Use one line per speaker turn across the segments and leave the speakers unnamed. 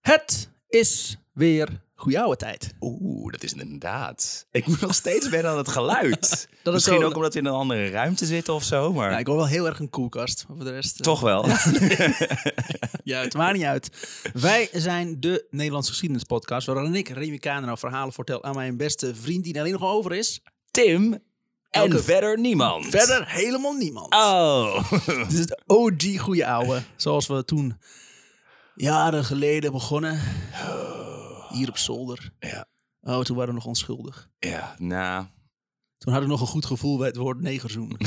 Het is weer goeie oude tijd.
Oeh, dat is inderdaad. Ik moet nog steeds wennen aan het geluid.
is
Misschien
zo-
ook omdat we in een andere ruimte zitten of zo, maar
Ja, ik hoor wel heel erg een koelkast. maar Voor de rest. eh,
toch wel.
Ja, het maakt niet uit. Wij zijn de Nederlandse geschiedenis podcast. Waarin ik, Remy Kaner, verhalen vertel aan mijn beste vriend die er alleen nog over is.
Tim en
Elke-
verder niemand.
Verder helemaal niemand.
Oh.
Het is het OG goede ouwe. Zoals we toen jaren geleden begonnen. Hier op zolder.
Ja.
Oh, toen waren we nog onschuldig.
ja, nou.
Toen hadden we nog een goed gevoel bij het woord negerzoen.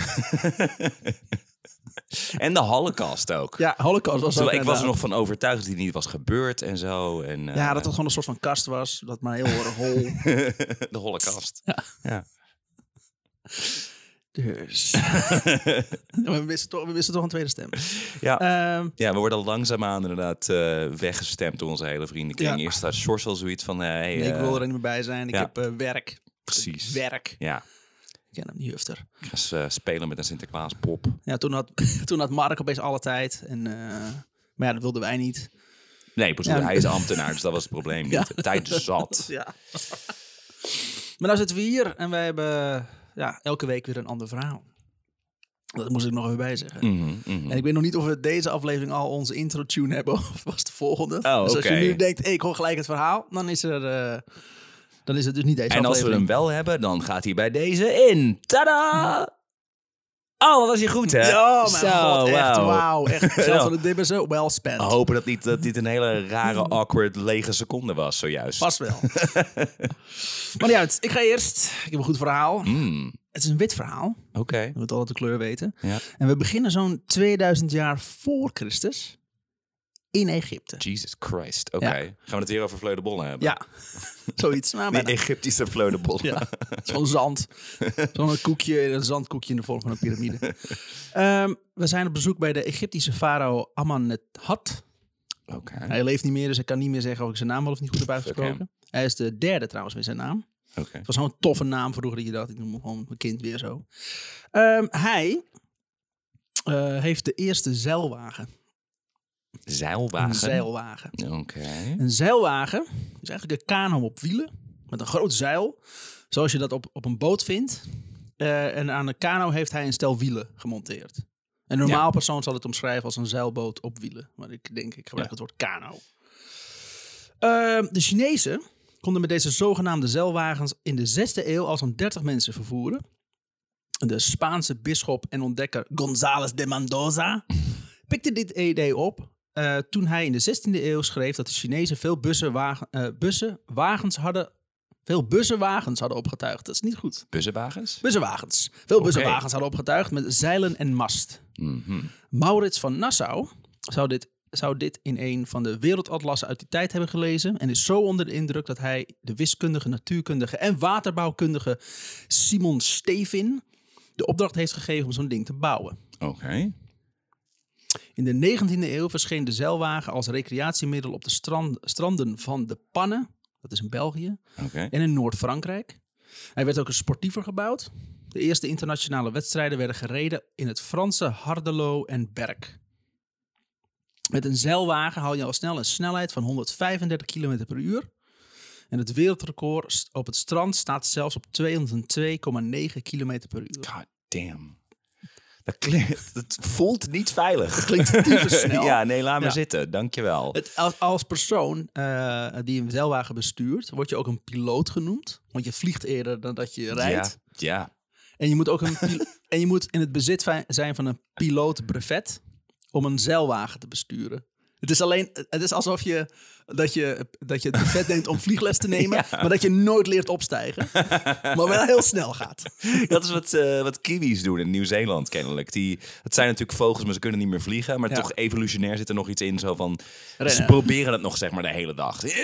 En de holocaust ook.
Ja, Holocaust was
Terwijl
ook
ik was
inderdaad-
er nog van overtuigd dat die niet was gebeurd en zo. En, eh,
Ja, dat het gewoon een soort van kast was. Dat maar heel erg hol.
de holocaust.
Dus. we, wisten toch, we wisten toch een tweede stem.
Ja.
Ehm,
Ja, we worden al langzaamaan inderdaad eh, weggestemd door onze hele vriendenkring.
Ja.
Eerst had Sjors al zoiets van... eh, hey,
nee, ik
eh,
wil er niet meer bij zijn. Ik
ja.
heb eh, werk.
Precies.
Werk.
Ja,
Ik ken hem, die hufter.
ik ga ze, eh, spelen met een Sinterklaas pop.
Ja, toen had, toen had Mark opeens alle tijd. En, eh, maar ja, dat wilden wij niet.
Nee, ik bedoel,
Ja.
hij is ambtenaar, dus dat was het probleem niet.
Ja.
De Tijd zat.
Ja. maar nou zitten we hier en wij hebben ja, elke week weer een ander verhaal. Dat moest ik nog even bij zeggen.
Mhm, mhm.
En ik weet nog niet of we deze aflevering al onze intro tune hebben of was de volgende.
Oh,
dus als je
oké.
nu denkt, hey, ik hoor gelijk het verhaal, dan is, er, eh, dan is het dus niet deze
En als we hem
aflevering.
wel hebben, dan gaat hij bij deze in. Tada! Oh, wat was je goed, hè?
Ja, mijn
Zo,
god, echt,
wauw.
wauw. Echt, geld
Ja.
van de dibber zo wel spent.
We hopen dat, niet, dat dit een hele rare,
Mm.
awkward, lege seconde was zojuist.
Vast wel. maar niet uit, ik ga eerst. Ik heb een goed verhaal.
Mm,
Het is een wit verhaal.
Oké.
We moeten altijd de kleur weten.
Ja.
En we beginnen zo'n 2000 jaar voor Christus in Egypte.
Jesus Christ. Oké. Gaan we het weer over vleudebollen hebben?
Ja, zoiets. Nou,
Die
bijna.
Egyptische vleudebollen.
Ja, zo'n zand. Zo'n koekje, een zandkoekje in de vorm van een piramide. Ehm, we zijn op bezoek bij de Egyptische farao Amanethat.
Oké.
Hij leeft niet meer, dus ik kan niet meer zeggen of ik zijn naam wel of niet goed heb uitgesproken.
Hm. hem.
Hij is de derde trouwens met zijn naam.
Oké.
Het was zo'n toffe naam vroeger dat je dacht, ik noem hem gewoon mijn kind weer zo. Ehm, hij eh, heeft de eerste zeilwagen.
Zeilwagen.
Een zeilwagen.
Oké.
Een zeilwagen is eigenlijk een kano op wielen met een groot zeil, zoals je dat op, op een boot vindt. Eh, en aan een kano heeft hij een stel wielen gemonteerd. Een normaal persoon zal het omschrijven als een zeilboot op wielen, maar ik denk ik gebruik het woord kano. Eh, de Chinezen konden met deze zogenaamde zeilwagens in de 6e eeuw al zo'n 30 mensen vervoeren. De Spaanse bisschop en ontdekker González de Mendoza pikte dit idee op eh, toen hij in de 16e eeuw schreef dat de Chinezen veel bussen, wagen, eh, bussen, wagens hadden. Veel bussenwagens hadden opgetuigd. Dat is niet goed.
Bussenwagens?
Bussenwagens. Veel bussenwagens hadden opgetuigd met zeilen en mast.
Mhm.
Maurits van Nassau zou dit, zou dit in een van de wereldatlassen uit die tijd hebben gelezen. En is zo onder de indruk dat hij de wiskundige, natuurkundige en waterbouwkundige Simon Stevin de opdracht heeft gegeven om zo'n ding te bouwen.
Oké.
In de 19e eeuw verscheen de zeilwagen als recreatiemiddel op de strand- stranden van de Pannen, dat is in België,
Oké.
en in Noord-Frankrijk. Hij werd ook een sportiever gebouwd. De eerste internationale wedstrijden werden gereden in het Franse Hardelo en Berck. Met een zeilwagen haal je al snel een snelheid van 135 km per uur. En het wereldrecord st- op het strand staat zelfs op 202,9 km per uur.
God damn. Dat, klinkt, dat voelt niet veilig. Dat
klinkt tyfusnel.
ja, nee, laat maar
Ja.
zitten. Dankjewel.
Het, als, als persoon eh, die een zeilwagen bestuurt, word je ook een piloot genoemd. Want je vliegt eerder dan dat je rijdt.
Ja.
En je moet ook een pil- en je moet in het bezit fi- zijn van een pilootbrevet om een zeilwagen te besturen. Het is alleen, het is alsof je dat je, dat je het brevet neemt om vliegles te nemen, maar dat je nooit leert opstijgen, maar wel heel snel gaat.
ja. Dat is wat, eh, wat kiwis doen in Nieuw-Zeeland kennelijk. Die, het zijn natuurlijk vogels, maar ze kunnen niet meer vliegen. Maar
Ja.
toch evolutionair zit er nog iets in zo van... Ze
Rennen.
proberen het nog zeg maar de hele dag. Eh,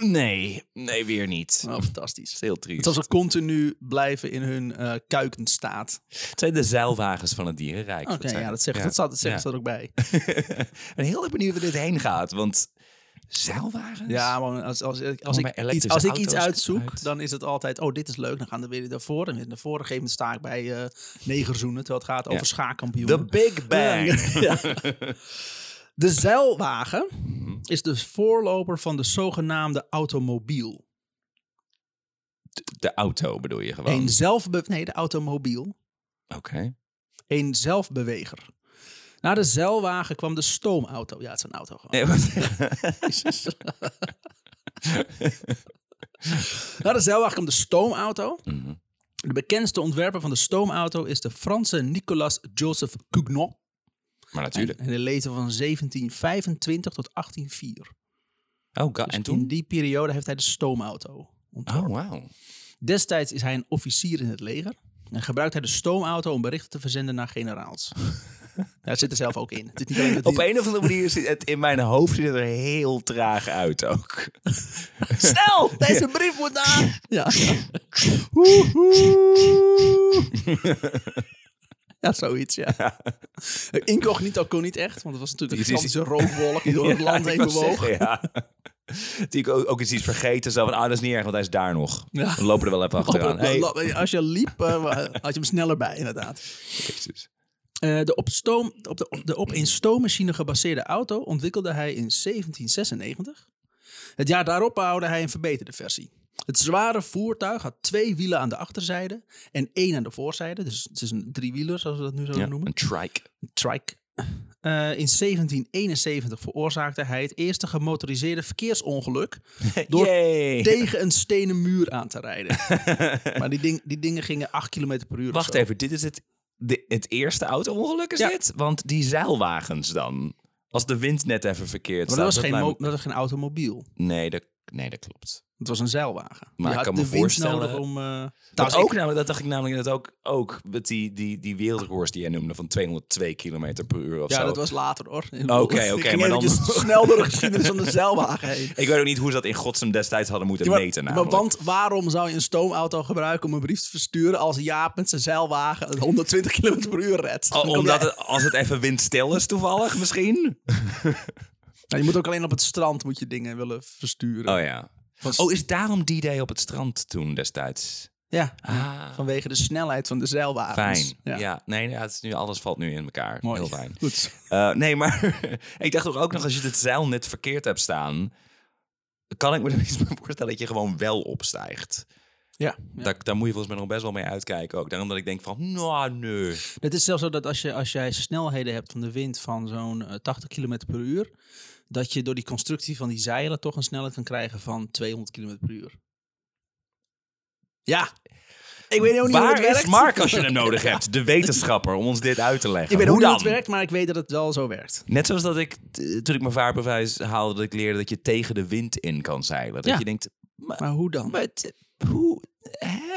Nee, nee weer niet.
Oh, fantastisch.
Dat is heel triest.
Terwijl ze continu blijven in hun eh kuikend staat.
Het zijn de zeilwagens van het dierenrijk.
Oké,
zijn
ja,
het.
dat zegt, dat staat, dat zegt
Ja.
er ook bij.
Ik ben heel erg benieuwd waar dit heen gaat, want zeilwagens?
Ja, maar als, als, als,
bij
ik, iets,
elektrische
als ik iets
auto's
uitzoek,
uit.
dan is het altijd... Oh, dit is leuk, dan gaan we weer naar voren. En naar voren gegeven moment sta ik bij eh, negerzoenen... terwijl het gaat over
Ja.
schaakkampioenen.
The Big Bang. Mhm.
Ja. De zeilwagen is de voorloper van de zogenaamde automobiel.
De auto bedoel je gewoon.
Een zelfbe... Nee, de automobiel.
Oké.
Een zelfbeweger. Na de zeilwagen kwam de stoomauto. Ja, het is een auto gewoon.
Nee, wat-
Na de zeilwagen kwam de stoomauto.
Mhm.
De bekendste ontwerper van de stoomauto is de Franse Nicolas Joseph Cugnot.
maar
En,
natuurlijk.
en hij leefde van 1725 tot 1804.
Oh, god.
Dus
En
in
toen?
die periode heeft hij de stoomauto
Oh,
ontworpen.
wauw.
Destijds is hij een officier in het leger. En gebruikt hij de stoomauto om berichten te verzenden naar generaals. Hij zit er zelf ook in. Het is niet alleen dat
Op
hij-
een of andere manier zit het in mijn hoofd ziet het er heel traag uit ook.
Snel! Deze brief moet naar... Ja. Woehoe. Ja, zoiets, ja. Incognito kon niet echt, want het was natuurlijk een
Het is-
gigantische rookwolk die door het land
Ja,
heen
ik wou
bewoog.
zeggen, ja. Die ik ook, ook iets iets vergeten. Zo van, ah, dat is niet erg, want hij is daar nog.
Ja.
We lopen er wel even achteraan. Hey.
Als je liep, eh, had je hem sneller bij, inderdaad.
Jezus.
Eh, de, op stoom, op de, op de op een stoommachine gebaseerde auto ontwikkelde hij in 1796. Het jaar daarop bouwde hij een verbeterde versie. Het zware voertuig had twee wielen aan de achterzijde en één aan de voorzijde. Dus het is een driewieler, zoals we dat nu zouden
Ja,
noemen.
een trike.
Trike. Eh, in 1771 veroorzaakte hij het eerste gemotoriseerde verkeersongeluk door
Yay.
tegen een stenen muur aan te rijden. maar die, ding, die dingen gingen 8 km per uur. of
Wacht
zo.
even, dit is het, de, het eerste auto-ongeluk is
Ja.
dit? Want die zeilwagens dan? Als de wind net even verkeerd
Maar
staat,
dat was, geen
lijkt
mo- dat was geen automobiel.
me- nee, dat, nee, dat klopt.
Het was een zeilwagen.
Maar
je
ik
had
kan
de
me
wind
voorstellen-
nodig om... eh
Dat,
trouwens,
ook,
ik-
namelijk, dat dacht ik namelijk net ook, ook met die, die, die wereldrecords die jij noemde van 202 km per uur of
ja,
zo.
dat was later hoor.
Oké,
Ik
oké,
ging
maar dan-
eventjes snel door de geschiedenis van de zeilwagen heen.
Ik weet ook niet hoe ze dat in godsnaam destijds hadden moeten
Ja, maar-
meten
maar,
namelijk.
want waarom zou je een stoomauto gebruiken om een brief te versturen als Jaap met zijn zeilwagen 120 km per uur redt?
O-
Dan kom
Oh, omdat
jij-
het, als het even windstil is toevallig misschien.
Nou, je moet ook alleen op het strand moet je dingen willen versturen.
Oh ja.
Van-
Oh, is daarom die day op het strand toen destijds?
ja,
Ah,
vanwege de snelheid van de zeilwagens.
fijn. Ja, nee, ja, het is nu, alles valt nu in elkaar.
Mooi.
Heel fijn.
Goed.
Eh, nee, maar ik dacht toch ook nog, als je het zeil net verkeerd hebt staan, kan ik me er iets bij voorstellen dat je gewoon wel opstijgt.
Ja.
Daar, daar moet je volgens mij nog best wel mee uitkijken ook. Daarom dat ik denk van, nou, nee.
Het is zelfs zo dat als, je, als jij snelheden hebt van de wind van zo'n eh, 80 km per uur, dat je door die constructie van die zeilen toch een snelheid kan krijgen van 200 km per uur. Ja. Ik weet ook niet hoe
Waar
het werkt.
is Mark als je hem nodig hebt? De wetenschapper, om ons dit uit te leggen.
Ik weet ook
Hoe
niet hoe
dan?
het werkt, maar ik weet dat het wel zo werkt.
Net zoals dat ik, t- toen ik mijn vaarbewijs haalde, dat ik leerde dat je tegen de wind in kan zeilen. Dat
Ja.
je denkt, maar,
Maar hoe dan?
maar het- hoe, hè?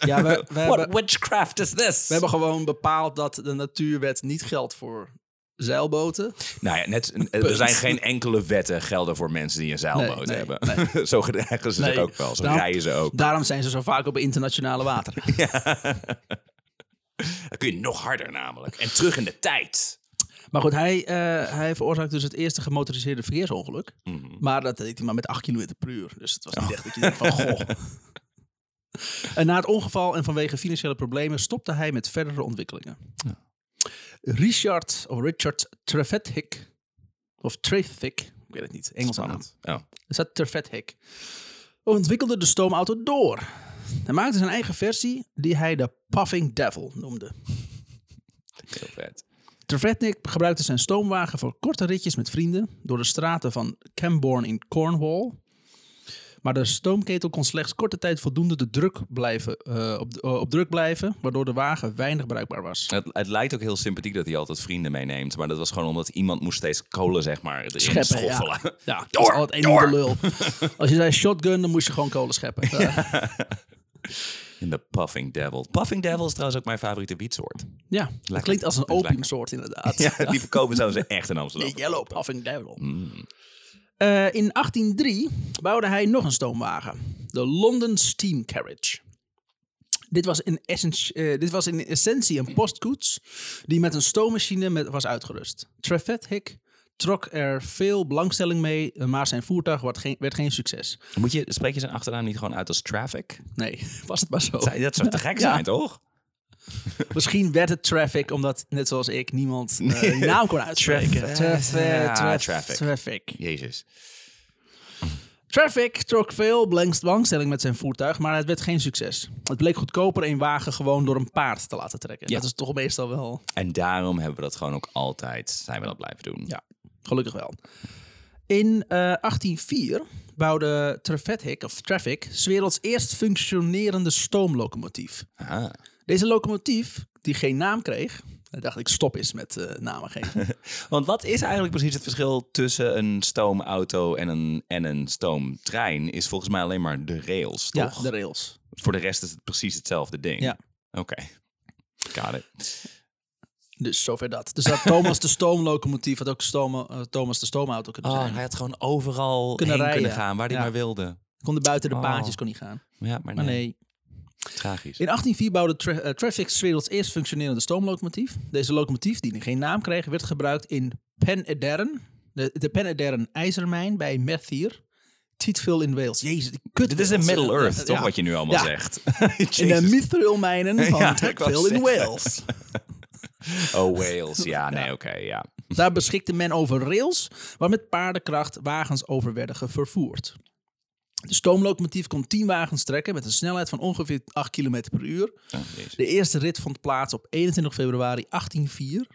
Ja, we, we,
What
hebben,
witchcraft is this?
we hebben gewoon bepaald dat de natuurwet niet geldt voor zeilboten.
Nou ja, net, er zijn geen enkele wetten gelden voor mensen die een zeilboot
Nee, nee,
hebben. zo gedragen ze zich
Nee. Nou-
ook wel, zo
Daarom-
rijden ze ook.
Daarom zijn ze zo vaak op internationale water.
Dan kun je nog harder namelijk. En terug in de tijd.
Maar goed, hij, eh hij veroorzaakt dus het eerste gemotoriseerde verkeersongeluk. Maar dat deed hij maar met 8 km per uur. Dus het was niet echt dat je denkt van, goh. En na het ongeval en vanwege financiële problemen stopte hij met verdere ontwikkelingen. Richard, of Richard Trevithick, of Trevithick, ik weet het niet, Engels naam.
Oh.
Is dat Trevithick? Ontwikkelde de stoomauto door. Hij maakte zijn eigen versie die hij de Puffing Devil noemde.
Heel vet.
Trevithick gebruikte zijn stoomwagen voor korte ritjes met vrienden door de straten van Camborne in Cornwall. Maar de stoomketel kon slechts korte tijd voldoende de druk blijven, eh, op, eh, op druk blijven, waardoor de wagen weinig bruikbaar was.
Het, het lijkt ook heel sympathiek dat hij altijd vrienden meeneemt. Maar dat was gewoon omdat iemand moest steeds kolen, zeg maar, erin
Scheppen, ja.
schoffelen.
Ja, dat
Door,
is altijd een enorme
door.
lul. Als je zei shotgun, dan moest je gewoon kolen scheppen. Eh, Ja,
In de Puffing Devil. Puffing Devil is trouwens ook mijn favoriete wietsoort.
dat klinkt als een
Lekker.
opiumsoort inderdaad.
Ja, die verkopen zouden ze echt in Amsterdam.
De Yellow Puffing Devil.
Mm.
Eh, in 1803 bouwde hij nog een stoomwagen. De London Steam Carriage. Dit was, in essentie, eh, dit was in essentie een postkoets die met een stoommachine met, was uitgerust. Trevithick trok er veel belangstelling mee, maar zijn voertuig werd geen, werd geen succes.
Moet je, spreek je zijn achternaam niet gewoon uit als Traffic?
Nee, was het maar zo.
Dat zou te gek
Ja.
zijn, toch?
Misschien werd het traffic, omdat net zoals ik niemand eh, de naam kon uitspreken.
Traffic. Ja, traffic.
traffic.
Jezus.
Traffic trok veel belangst- belangstelling met zijn voertuig, maar het werd geen succes. Het bleek goedkoper een wagen gewoon door een paard te laten trekken.
Ja.
Dat is toch meestal wel,
En daarom hebben we dat gewoon ook altijd, zijn we dat blijven doen.
Ja. gelukkig wel. In eh 1804 bouwde Traffic, of Traffic, 's werelds eerst functionerende stoomlocomotief.
Aha.
Deze locomotief, die geen naam kreeg, daar dacht ik stop eens met eh, namen geven.
Want wat is eigenlijk precies het verschil tussen een stoomauto en een, en een stoomtrein? Is volgens mij alleen maar de rails,
ja,
toch?
de rails.
Voor de rest is het precies hetzelfde ding.
Ja.
Oké. Got it.
Dus zover dat. Dus dat Thomas de stoomlocomotief had ook stoom, eh, Thomas de stoomauto kunnen zijn.
Ah, hij had gewoon overal
Kunnen
heen
rijden.
kunnen gaan, waar hij
Ja.
maar wilde.
Kon er buiten de
Oh.
paadjes kon niet gaan.
Ja, maar nee.
Maar nee,
Tragisch.
In 1804 bouwde tra eh, Traffic 's werelds eerst functionerende stoomlocomotief. Deze locomotief, die geen naam kreeg, werd gebruikt in Penedderen, de, de Penedderen ijzermijn bij Merthyr, Tietville in Wales. Jezus, die kut.
Dit is een
Wales.
Middle Earth,
Ja,
toch?
ja.
Wat je nu allemaal
Ja.
zegt.
In de
Jezus.
mithrilmijnen van
Ja, ik wou
Tietville in
zeggen.
Wales.
Oh, Wales. Ja, nee, oké, ja.
Daar beschikte men over rails, waar met paardenkracht wagens over werden vervoerd. De stoomlocomotief kon 10 wagens trekken met een snelheid van ongeveer 8 km per uur.
Oh, jezus.
De eerste rit vond plaats op 21 februari 1804.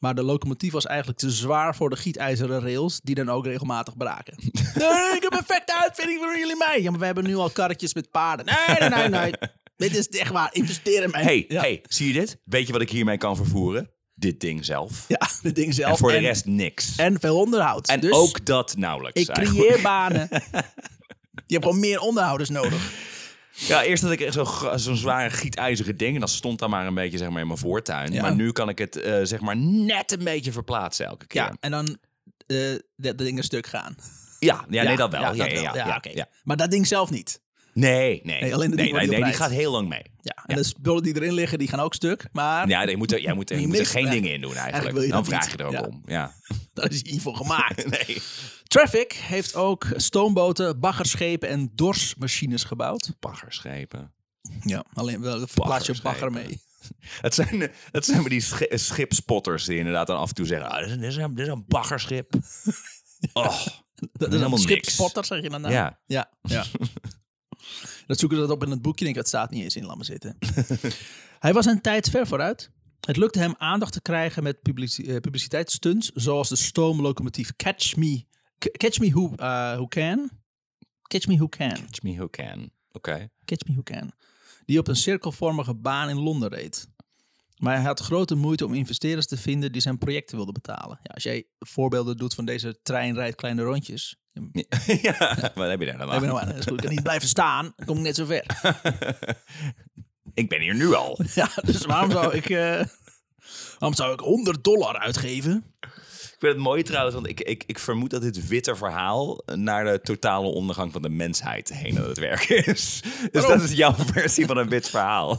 Maar de locomotief was eigenlijk te zwaar voor de gietijzeren rails, die dan ook regelmatig braken. Nee, ik heb een perfecte uitvinding voor jullie mee. Ja, maar we hebben nu al karretjes met paarden. Nee, nee, nee, nee. Dit is echt waar. Investeer in mij.
hey,
ja.
hey, zie je dit? Weet je wat ik hiermee kan vervoeren? Dit ding zelf.
Ja, dit ding zelf.
en voor de rest niks. En,
En veel onderhoud. dus
ook dat nauwelijks.
ik
eigenlijk.
creëer banen. Je hebt gewoon meer onderhouders nodig.
Ja, eerst had ik echt zo'n gro- zo'n zware gietijzeren ding. En dat stond dan maar een beetje zeg maar, in mijn voortuin.
Ja.
Maar nu kan ik het eh, zeg maar net een beetje verplaatsen elke keer.
Ja, en dan eh dat ding een stuk gaan.
ja, ja, nee, dat wel. Ja,
Ja,
ja,
dat
ja,
wel.
ja,
Ja, oké.
ja.
Maar dat ding zelf niet.
Nee, nee.
Nee, alleen de dingen
nee, nee,
die
nee, die
oprijdt.
gaat heel lang mee.
Ja, en de spullen die erin liggen, die gaan ook stuk. Maar
Ja, je moet er, jij moet, er-
Je
je moet er
mist-
geen
nee.
dingen in doen
Eigenlijk
eigenlijk.
wil je
dan
dat
vraag
niet.
je er ook
Ja.
om. Ja.
daar is hiervoor gemaakt.
Nee.
Traffic heeft ook stoomboten, baggerschepen en dorsmachines gebouwd.
Baggerschepen.
Ja, alleen wel plaats je bagger mee.
Het zijn, het zijn maar die schi- schipspotters die inderdaad dan af en toe zeggen... Ah, dit, is een, dit, is een, dit is een baggerschip. Oh,
Dat is
Helemaal
een
niks.
schipspotter, zeg je dan nou?
Ja.
Ja. ja. dat zoeken ze dat op in het boekje en ik dat staat niet eens in, laat maar zitten. Hij was een tijd ver vooruit. Het lukte hem aandacht te krijgen met publici eh, publiciteitsstunts, zoals de stoomlocomotief Catch Me, Ca- Catch Me Who, eh, who Can. Catch Me Who Can.
catch me who can. Oké.
Catch Me Who Can, die op een cirkelvormige baan in Londen reed. Maar hij had grote moeite om investeerders te vinden die zijn projecten wilden betalen. Ja, als jij voorbeelden doet van deze trein rijdt kleine rondjes. dan ben
ja, wat heb je daar dan
je
aan?
nou aan, dat is goed. Ik kan niet blijven staan, dan kom ik net zo ver.
Ik ben hier nu al.
Ja, dus waarom zou ik, eh, waarom zou ik 100 dollar uitgeven?
Ik vind het mooi trouwens, want ik, ik, ik vermoed dat dit witte verhaal naar de totale ondergang van de mensheid heen aan het werk is. Dus
Waarom?
dat is jouw versie van een wit verhaal.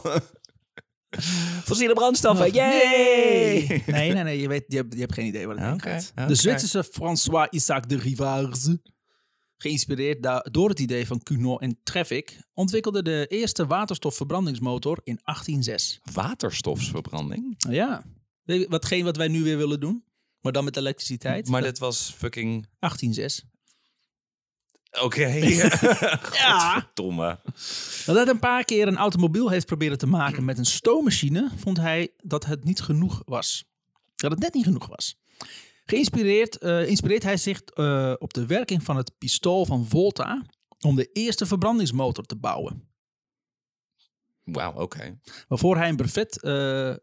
Fossiele
Nee,
brandstoffen, yay!
nee, nee, je, weet, je, hebt, je hebt geen idee waar het heen
Oké,
gaat.
oké.
De Zwitserse François Isaac de Rivars, geïnspireerd da- door het idee van Cugnot en Traffic, ontwikkelde de eerste waterstofverbrandingsmotor in 1806.
Waterstofsverbranding?
Ja, Weet je, watgeen wat wij nu weer willen doen, maar dan met elektriciteit.
Maar
Dat-
dit was fucking...
1806.
Oké.
Ja.
Godverdomme.
Nadat hij een paar keer een automobiel heeft proberen te maken met een stoommachine, vond hij dat het niet genoeg was. Dat het net niet genoeg was. Geïnspireerd eh, inspireert hij zich eh, op de werking van het pistool van Volta om de eerste verbrandingsmotor te bouwen.
Wauw, oké.
Waarvoor hij een brevet eh, eh,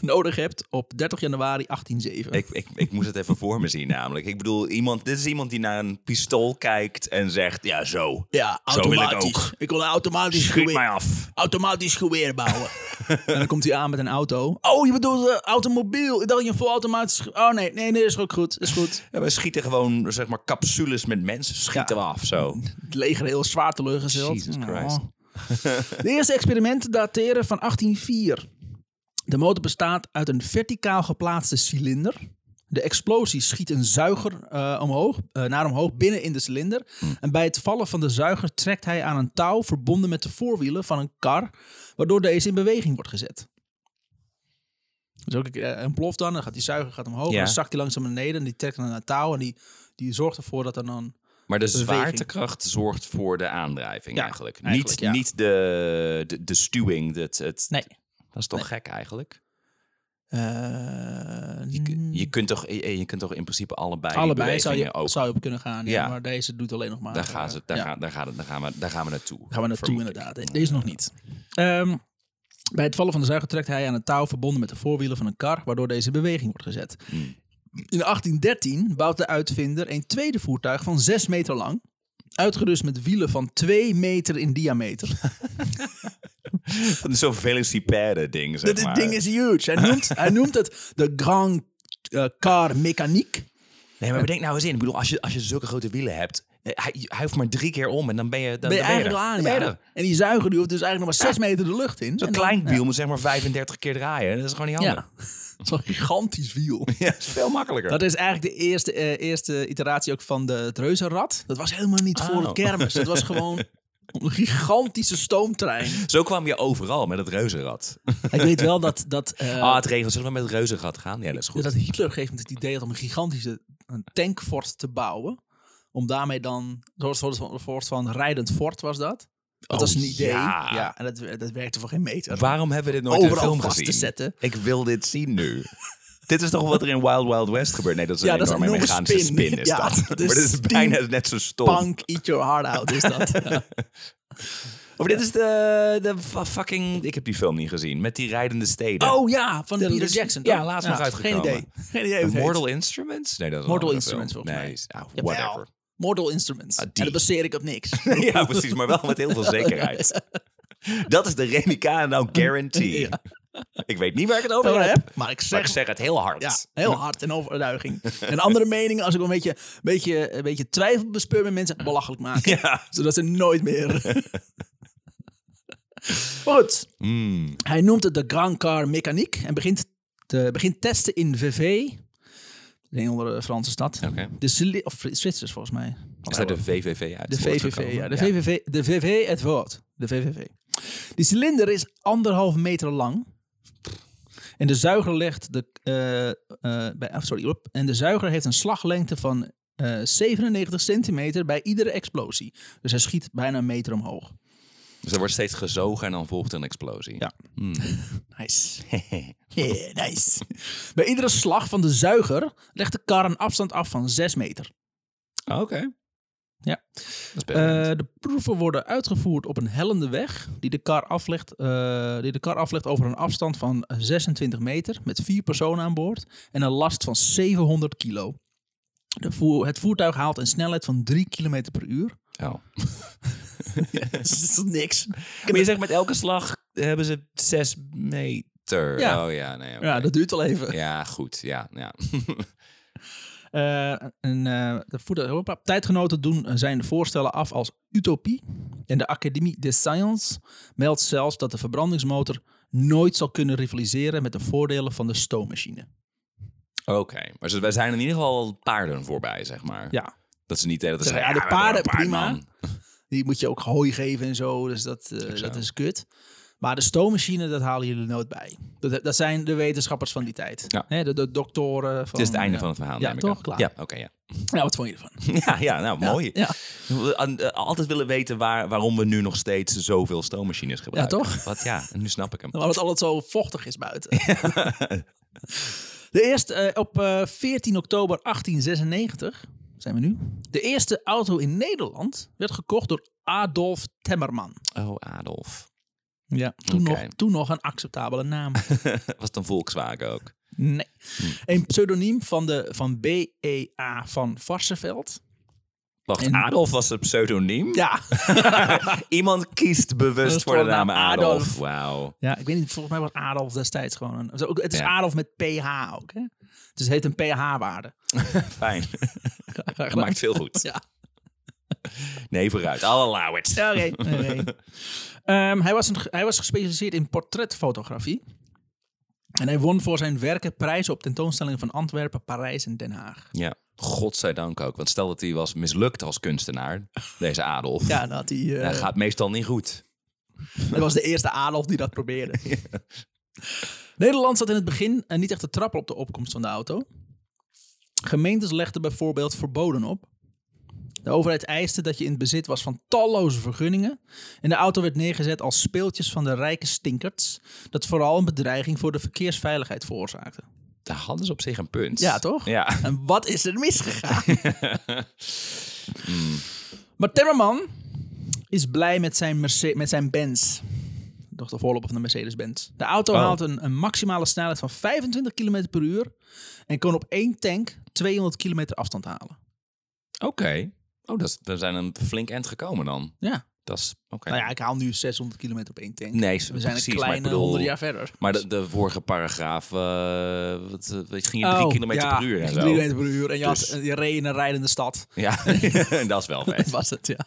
nodig hebt op 30 januari 1807.
Ik, ik, ik moest het even voor me zien namelijk. Ik bedoel, iemand, dit is iemand die naar een pistool kijkt en zegt, ja zo,
ja,
Zo wil ik automatisch. ook.
wil een automatisch
schiet mij af.
automatisch geweer bouwen. en dan komt hij aan met een auto. Oh, je bedoelt eh, automobiel. Ik dacht je een volautomatisch... ge- Oh nee, nee, nee, is ook goed. Is goed.
Ja, we schieten gewoon, zeg maar, capsules met mensen, schieten we af, zo.
Het leger heel zwaar teleurgesteld.
Jesus
Oh.
Christ.
De eerste experimenten dateren van 1804. De motor bestaat uit een verticaal geplaatste cilinder. De explosie schiet een zuiger eh, omhoog, eh, naar omhoog binnen in de cilinder.
Hmm.
En bij het vallen van de zuiger trekt hij aan een touw verbonden met de voorwielen van een kar, waardoor deze in beweging wordt gezet. Dus ook eh, ontploft dan, dan gaat die zuiger gaat omhoog,
Ja.
dan zakt hij langzaam naar beneden en die trekt dan naar het touw en die, die zorgt ervoor dat er dan...
Maar de
Beweging.
zwaartekracht zorgt voor de aandrijving
Ja,
eigenlijk.
eigenlijk,
Niet,
ja.
niet de, de, de stuwing. Het, het,
Nee.
Dat is toch
Nee.
gek eigenlijk?
eh,
Je, kun- je, kunt toch, je, je kunt toch in principe allebei, die
allebei zou je,
bewegingen ook...
zou je op kunnen gaan, ja.
Ja.
maar deze doet alleen nog maar...
Daar, gaan ze, daar,
ja.
gaan, daar, gaan, daar, gaan we, daar gaan we naartoe.
Gaan we naartoe
vermoed ik.
inderdaad. De- Deze nog niet. Ehm, bij het vallen van de zuiger trekt hij aan een touw verbonden met de voorwielen van een kar, waardoor deze in beweging wordt gezet.
Hmm.
In 1813 bouwt de uitvinder een tweede voertuig van 6 meter lang, uitgerust met wielen van 2 meter in diameter.
Dat is zo'n velocipede ding, zeg
Dit
maar.
ding is huge. Hij noemt, hij noemt het de Grand eh, Car Mécanique.
Nee, maar bedenk nou eens in. Ik bedoel, als je, als je zulke grote wielen hebt... eh, Hij, hij hoeft maar drie keer om en dan ben je dan,
Ben je
dan ben
eigenlijk al
er.
aan,
Dan ben je
ja.
er.
En die zuiger die hoeft dus eigenlijk nog maar 6 meter de lucht in.
Zo'n
En dan-
klein wiel moet zeg maar 35 keer draaien. Dat is gewoon niet handig.
Ja. Zo'n gigantisch wiel.
Ja, dat is veel makkelijker.
Dat is eigenlijk de eerste, eh, eerste iteratie ook van de, het reuzenrad. Dat was helemaal niet voor
Oh.
het kermis. Dat was gewoon een gigantische stoomtrein.
Zo kwam je overal met het reuzenrad.
Ik weet wel dat, dat, eh,
Ah, het regelt. Zullen we met het reuzenrad gaan? Ja, dat is goed.
dat Hitler op een gegeven moment het idee had om een gigantische een tankfort te bouwen. Om daarmee dan, een soort van, een soort van rijdend fort was dat. Dat
Oh,
was een idee.
ja.
en dat, dat werkte voor geen meter.
Waarom hebben we dit nooit in de
Overal
film
vast
gezien?
te zetten.
Ik wil dit zien nu. dit is toch wat er in Wild Wild West gebeurt? Nee, dat is een
Ja, dat is een
enorme
enorme
mechanische
spin.
spin. is
Ja,
dat.
dat
maar dit
is
is bijna net zo stom.
Punk, eat your heart out is dat. Ja.
Of dit is de, de fa- fucking... Ik heb die film niet gezien. Met die rijdende steden.
Oh ja, van
Ja,
Peter
dus-
Jackson.
ja,
toch?
laatst nog uitgekomen.
Geen idee. Geen idee hoe
The
het heet.
Mortal Instruments? Nee, dat is een
Mortal
andere film.
Instruments, volgens
nee,
mij.
is- ah,
Jawel.
whatever.
Mortal Instruments. en
Ah, die.
dat baseer ik op niks.
ja, precies. Maar wel met heel veel zekerheid. dat is de Remy nou guarantee.
Ja.
Ik weet niet waar ik het over
Over
heb.
heb, maar ik
Maar
zeg,
ik zeg het heel hard.
ja, heel hard en overtuiging. En andere meningen, als ik wel een beetje, een beetje, een beetje twijfel bespeur bij mensen, belachelijk maken.
Ja.
Zodat ze nooit meer... Maar Goed,
Mm.
hij noemt het de Grand Car Mechanique en begint, te, begint testen in VV, een andere eh, Franse stad.
Oké.
De Zili- of Fri- Zwitsers volgens mij.
Is daar de VVV uit?
De VVV, ja. De VVV, de VV het woord. De VVV. Die cilinder is anderhalf meter lang. En de zuiger legt de... eh, eh, bij, ah, sorry, op. En de zuiger heeft een slaglengte van eh, 97 centimeter bij iedere explosie. Dus hij schiet bijna een meter omhoog.
Dus er wordt steeds gezogen en dan volgt een explosie.
Ja.
Mm.
Nice. Yeah, nice. bij iedere slag van de zuiger legt de kar een afstand af van 6 meter.
Ah, Oké.
Ja.
Dat is best
Eh, de proeven worden uitgevoerd op een hellende weg die de, kar aflegt, eh, die de kar aflegt over een afstand van 26 meter met vier personen aan boord en een last van 700 kilo. De voer- het voertuig haalt een snelheid van 3 km per uur.
Oh.
Dat is niks.
Maar je zegt met elke slag hebben ze zes meter.
Ja.
Oh ja, nee. oké.
Ja, dat duurt al even.
Ja, goed. Ja, ja.
Eh, en, eh, de voertuig- hoppa. tijdgenoten doen eh, zijn voorstellen af als utopie. En de Académie des Sciences meldt zelfs dat de verbrandingsmotor nooit zal kunnen rivaliseren met de voordelen van de stoommachine.
Oké. Maar ze, wij zijn in ieder geval paarden voorbij, zeg maar.
Ja.
Dat ze niet de hele tijd
Zeg,
zeggen,
ja, de
we hebben
paarden,
een paard,
prima. Die moet je ook hooi geven en zo, dus dat, eh,
zo.
dat is kut. Maar de stoommachine, dat halen jullie nooit bij. Dat, dat zijn de wetenschappers van die tijd.
Ja.
Hè, de, de doktoren. Van,
Het is het einde
ja.
van het verhaal.
Ja,
neem ik
toch?
aan.
Klaar.
Ja, oké, ja.
Nou, wat vond je ervan?
Ja, ja, nou, mooi.
Ja.
An- eh, Altijd willen weten waar, waarom we nu nog steeds zoveel stoommachines gebruiken.
toch?
Wat, ja, en nu snap ik hem.
Omdat het altijd zo vochtig is buiten. De eerste, eh, op eh, 14 oktober 1896, zijn we nu, de eerste auto in Nederland werd gekocht door Adolf Temmerman.
Oh, Adolf.
Ja, toen,
Oké.
nog, toen nog een acceptabele naam.
Was het een Volkswagen ook?
Nee. Een pseudoniem van, de, van BEA van Varsenveld.
Wacht,
En-
Adolf was een pseudoniem?
Ja.
Iemand kiest bewust
Dus
voor de
voor de
naam
naam
Adolf.
Adolf.
Wauw.
ja, ik weet niet, volgens mij was Adolf destijds gewoon een... ook- Het is
Ja.
Adolf met PH ook, hè? Dus het heet een PH-waarde.
Fijn. Maakt veel goed.
Ja.
Nee, vooruit. I'll allow it.
Ja, Oké. oké. Ehm, hij, was een, hij was gespecialiseerd in portretfotografie. En hij won voor zijn werken prijzen op tentoonstellingen van Antwerpen, Parijs en Den Haag.
Ja. Godzijdank ook. Want stel dat hij was mislukt als kunstenaar, deze Adolf.
Ja, dat hij, eh,
Dat gaat meestal niet goed.
dat was de eerste Adolf die dat probeerde. Nederland zat in het begin eh, niet echt te trappen op de opkomst van de auto. Gemeentes legden bijvoorbeeld verboden op. De overheid eiste dat je in het bezit was van talloze vergunningen. En de auto werd neergezet als speeltjes van de rijke stinkerts. Dat vooral een bedreiging voor de verkeersveiligheid veroorzaakte.
Daar hadden ze op zich een punt.
Ja, toch?
Ja.
En wat is er misgegaan? Mm. Maar Timmerman is blij met zijn, Merce- met zijn Benz. Toch de voorloper van de Mercedes-Benz. De auto
Oh.
haalt een, een maximale snelheid van 25 km per uur. En kon op één tank 200 kilometer afstand halen.
Oké. Oh, dat is, we zijn een flink eind gekomen dan.
Ja.
Dat is... Oké.
Nou ja, ik haal nu 600 kilometer op één tank.
Nee,
We zijn
precies,
een
maar ik
kleine
bedoel-
100 jaar verder.
Maar de, de vorige paragraaf, eh wat, eh, weet je, ging je drie
Oh,
kilometer
ja,
per uur en
ging
zo.
Drie kilometer per uur. En je,
Dus-
had, je reed in een rijdende stad.
Ja, dat is wel
Dat
vet.
was het, ja.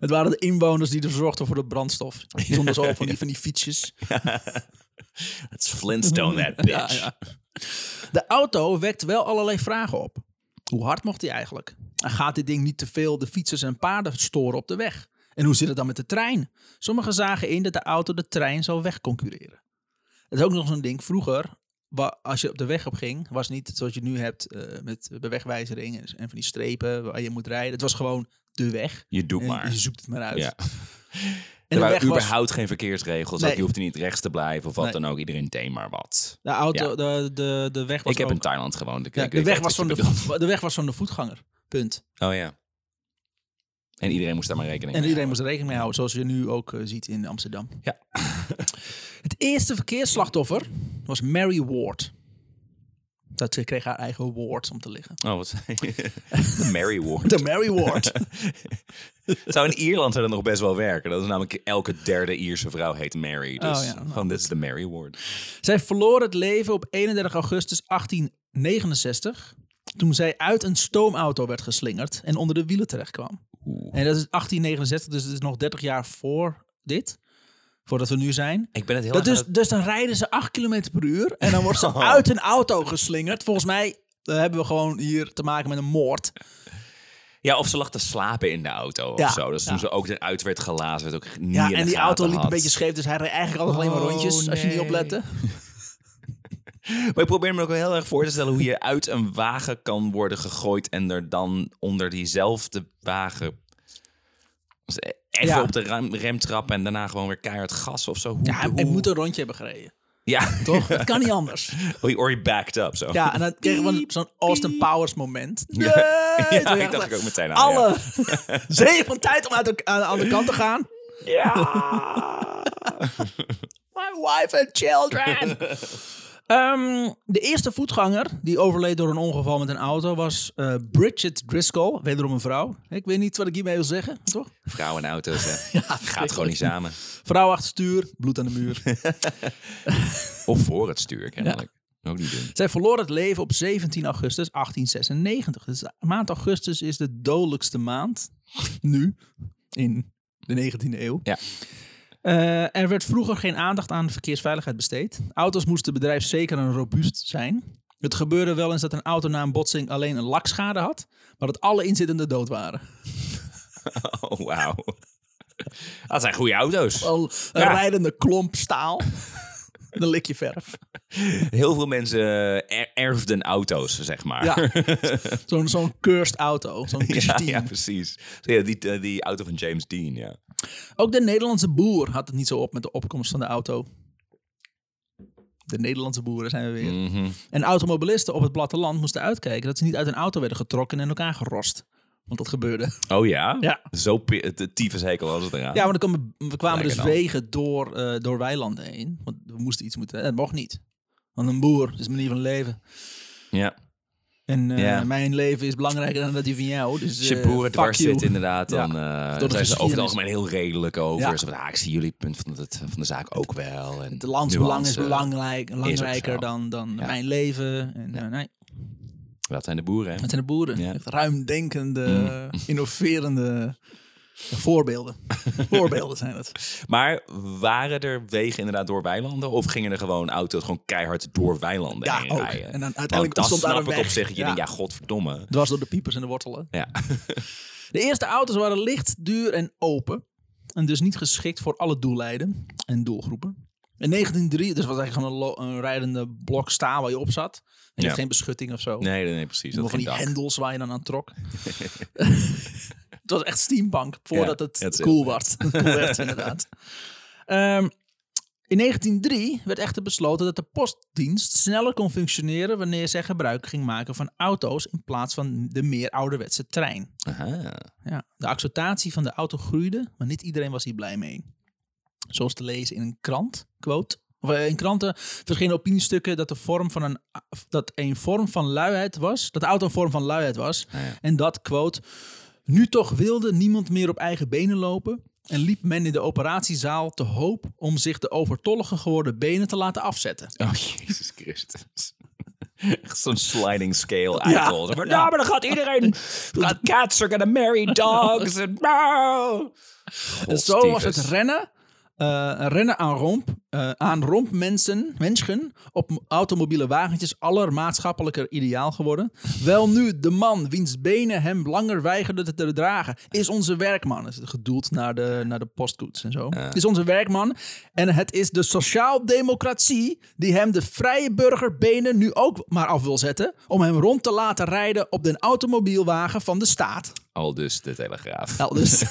Het waren de inwoners die er zorgden voor de brandstof. Die stonden zo van die, van die fietsjes.
Het is Flintstone, that bitch.
Ja, De auto wekt wel allerlei vragen op. Hoe hard mocht hij eigenlijk? En gaat dit ding niet te veel de fietsers en paarden storen op de weg? En hoe zit het dan met de trein? Sommigen zagen in dat de auto de trein zou wegconcurreren. Het is ook nog zo'n ding. Vroeger, wa- als je op de weg op ging, was niet zoals je nu hebt eh, met bewegwijzering en van die strepen waar je moet rijden. Het was gewoon de weg.
Je doet
En
maar.
je zoekt het maar uit.
Ja.
En
Er
de
waren
weg was
überhaupt geen verkeersregels. ook
Nee.
Je hoeft er niet rechts te blijven of wat
Nee.
dan ook. Iedereen deed maar wat.
de auto,
Ja.
de, de, de weg was
ik heb
ook-
in Thailand gewoond. Ik,
Ja,
ik
de,
weet
weg
echt
was
wat
van
je
de,
bedoelt.
vo- de weg was van de voetganger. Punt.
Oh ja. En iedereen moest daar maar rekening
En
mee
iedereen moest er rekening mee houden, zoals je nu ook eh, ziet in Amsterdam.
Ja.
Het eerste verkeersslachtoffer was Mary Ward. Dat ze kreeg haar eigen award om te liggen.
houden. Oh, wat zei je? De Mary Ward.
De Mary Ward.
Zou in Ierland zou dat nog best wel werken. Dat is namelijk elke derde Ierse vrouw heet Mary. Dus
Oh ja, nou,
gewoon, dit is de Mary Ward.
zij verloor het leven op 31 augustus 1869. Toen zij uit een stoomauto werd geslingerd en onder de wielen terecht kwam.
Oeh.
En dat is 1869, dus het is nog 30 jaar voor dit. Voordat we nu zijn.
Ik ben het heel
Dat
erg
dus,
aan het-
dus dan rijden ze 8 km per uur en dan wordt ze
Oh.
uit een auto geslingerd. Volgens mij eh, hebben we gewoon hier te maken met een moord.
Ja, of ze lag te slapen in de auto of
Ja,
zo. Dus toen
ja.
ze ook eruit werd gelazen, werd ook niet
Ja,
in de
en die
gaten
auto liep
had.
een beetje scheef, dus hij reed eigenlijk altijd alleen maar
Oh,
rondjes als je niet
nee.
oplette.
Maar ik probeer me ook wel heel erg voor te stellen hoe je uit een wagen kan worden gegooid en er dan onder diezelfde wagen Dus e- even
Ja.
op de rem, remtrap en daarna gewoon weer keihard gas of zo. Hoe,
Ja, hij,
hoe-
hij moet een rondje hebben gereden.
ja.
Toch? Dat kan niet anders.
Or you- or you backed up zo.
Ja, en dan kregen we zo'n Austin Powers moment. Nee!
Ja,
Toen
ik
dacht
dacht ik ook meteen aan.
Alle zeeën van tijd om uit de, aan de andere kant te gaan.
Ja.
My wife and children. Ehm, de eerste voetganger die overleed door een ongeval met een auto was eh, Bridget Driscoll, wederom een vrouw. Ik weet niet wat ik hiermee wil zeggen, toch?
Vrouwen en auto's, hè. Gaat gewoon niet samen.
Vrouw achter stuur, bloed aan de muur.
Of voor het stuur, kennelijk. Ook niet doen.
Zij verloor het leven op 17 augustus 1896. Dus de maand augustus is de dodelijkste maand, nu, in de 19e eeuw.
Ja.
Eh, er werd vroeger geen aandacht aan verkeersveiligheid besteed. Auto's moesten bedrijfszeker en robuust zijn. Het gebeurde wel eens dat een auto na een botsing alleen een lakschade had, maar dat alle inzittenden dood waren.
Oh, wauw. Dat zijn goede auto's.
Al een
Ja.
rijdende klomp staal. Dan lik je verf.
Heel veel mensen eh, er- erfden auto's, zeg maar.
Ja. Zo'n zo'n cursed auto. Zo'n
ja,
Christine.
ja, precies. Zo, ja, die, eh, die auto van James Dean, ja.
Ook de Nederlandse boer had het niet zo op met de opkomst van de auto. De Nederlandse boeren zijn we weer.
Mhm.
En automobilisten op het platteland moesten uitkijken dat ze niet uit een auto werden getrokken en in elkaar gerost. Want dat gebeurde.
Oh ja?
Ja.
Zo pi- het tyfushekel was het eraan.
Ja, want er kwamen- we kwamen dus
Lekker dan.
wegen door, eh, door weilanden heen. Want we moesten iets moeten. Dat mocht niet. Want een boer is een manier van leven.
ja.
En eh,
Ja.
mijn leven is belangrijker dan dat die van jou. Dus,
Als je
eh,
boeren
fuck
dwars
you.
zit inderdaad,
Ja.
dan
de
eh, zijn ze over het
geschiedenis.
algemeen heel redelijk over.
Ja.
Ze van, ah, ik zie jullie het punt van, het, van de zaak ook wel. En
Het landsbelang is
nuance.
belangrijk, belangrijker
zo.
dan, dan
Ja.
mijn leven. En, eh, nee.
Dat zijn de boeren, hè?
Het zijn de boeren.
Ja. Mm.
Echt ruimdenkende, innoverende voorbeelden. voorbeelden zijn het.
Maar waren er wegen inderdaad door weilanden? Of gingen er gewoon auto's gewoon keihard door weilanden
Ja,
heen
ook.
rijden?
En dan uiteindelijk
Want dat
ontstond daar
snap
een
ik op
weg.
zich. dat Je
Ja.
denkt, ja, godverdomme.
Dwars door de piepers en de wortelen.
Ja.
De eerste auto's waren licht, duur en open. En dus niet geschikt voor alle doeleinden en doelgroepen. In 1903, dus was eigenlijk gewoon een, lo- een rijdende blok staal waar je op zat. En je
Ja.
had geen beschutting of zo.
Nee, nee, nee, precies.
Nog van
Dat ging
die
dak.
hendels waar je dan aan trok. het was echt steampunk, voordat
Ja,
het
dat is
cool
heel
werd. cool werd, inderdaad. Ehm, in 1903 werd echter besloten dat de postdienst sneller kon functioneren wanneer zij gebruik ging maken van auto's in plaats van de meer ouderwetse trein.
Aha.
Ja, de acceptatie van de auto groeide, maar niet iedereen was hier blij mee. Zoals te lezen in een krant, quote. Of eh, in kranten verschenen opiniestukken dat, de vorm van een, dat een vorm van luiheid was. Dat de auto een vorm van luiheid was.
Ah, ja.
En dat, quote, nu toch wilde niemand meer op eigen benen lopen en liep men in de operatiezaal te hoop om zich de overtollige geworden benen te laten afzetten.
Oh, Jezus Christus. Echt zo'n sliding scale eikel. Zeg Maar,
ja.
"Nou, maar dan gaat iedereen... gaat cats are gonna marry dogs. en, nou."
En zo was het
Godstiefes.
rennen, eh, rennen aan, romp, eh, aan rompmensen, mensen op m- automobiele wagentjes aller maatschappelijker ideaal geworden. Wel nu, de man wiens benen hem langer weigerden te- te dragen, is onze werkman. Dat is gedoeld naar de, naar de postkoets en zo. Is onze werkman. En het is de sociaaldemocratie die hem de vrije burgerbenen nu ook maar af wil zetten. Om hem rond te laten rijden op de automobielwagen van de staat.
Al dus de Telegraaf.
Nou, dus...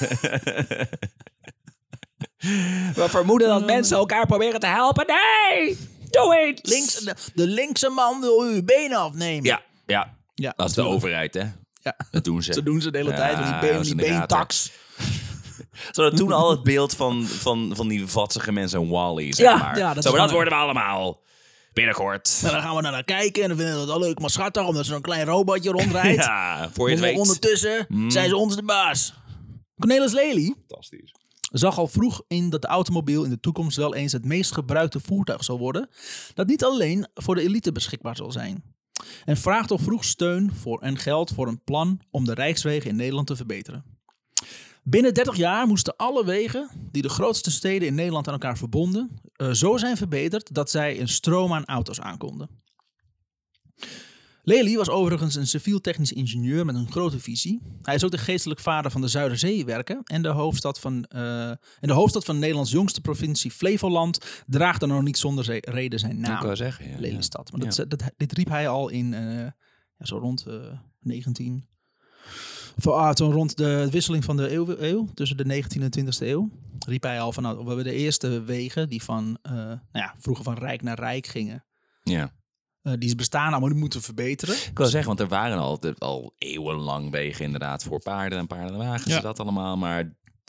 We vermoeden dat mensen elkaar proberen te helpen. Nee! Doe iets!
Links, de, de linkse man wil uw benen afnemen.
Ja, ja.
Ja,
Dat is de overheid, hè?
Ja.
Dat doen ze.
Dat doen ze de hele
Ja,
tijd. Die,
dat
been,
is
die
in de gaten.
beentax.
Ze hadden toen al het beeld van, van, van die vatsige mensen en Wally, zeg
Ja,
maar.
ja, dat
Zo,
is
maar dat
gewoon-
worden we allemaal. Binnenkort.
En dan gaan we naar naar kijken en dan vinden we dat leuk maar schattig. Omdat ze zo'n klein robotje rondrijdt.
Ja, voor je het
Maar
weet. Hmm.
ondertussen zijn ze ons de baas. Cornelis Lely
Fantastisch.
zag al vroeg in dat de automobiel in de toekomst wel eens het meest gebruikte voertuig zal worden. Dat niet alleen voor de elite beschikbaar zal zijn. En vraagt al vroeg steun voor en geld voor een plan om de rijkswegen in Nederland te verbeteren. Binnen 30 jaar moesten alle wegen die de grootste steden in Nederland aan elkaar verbonden, eh, zo zijn verbeterd dat zij een stroom aan auto's aankonden. Lely was overigens een civiel-technisch ingenieur met een grote visie. Hij is ook de geestelijk vader van de Zuiderzeewerken en de hoofdstad van, eh, en de hoofdstad van Nederlands jongste provincie Flevoland draagt dan nog niet zonder ze- reden zijn naam.
Ik wou zeggen, ja.
Nou, Lelystad. Maar dat, dat, dit riep hij al in eh, ja, zo rond eh 19. Of, ah, toen rond de wisseling van de eeuw, eeuw, tussen de 19e en 20e eeuw, riep hij al van nou, we hebben de eerste wegen die van, eh, nou ja, vroeger van rijk naar rijk gingen.
ja.
eh, die bestaan allemaal, die moeten verbeteren.
Ik wil zeggen, want er waren al, al eeuwenlang wegen inderdaad voor paarden en paardenwagens
Ja.
en dat allemaal. Maar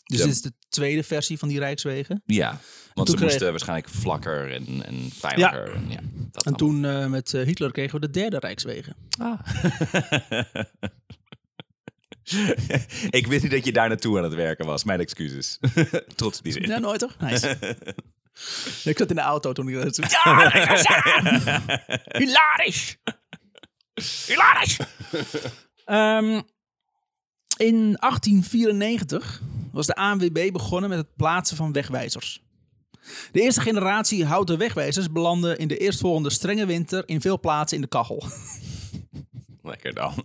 Dus
Ja.
dit is de tweede versie van die Rijkswegen.
ja, want
toen
ze
kreeg-
moesten waarschijnlijk vlakker en, en veiliger. En, ja, dat
En toen eh, met eh, Hitler kregen we de derde Rijkswegen.
allemaal. Ik wist niet dat je daar naartoe aan het werken was. Mijn excuses. Trots op die zin.
Ja, nooit toch? Nice. ik zat in de auto toen ik dat zo-
Ja, dat is waar. Hilarisch! Hilarisch!
Ehm, in 1894 was de ANWB begonnen met het plaatsen van wegwijzers. De eerste generatie houten wegwijzers belanden in de eerstvolgende strenge winter in veel plaatsen in de kachel.
Lekker dan.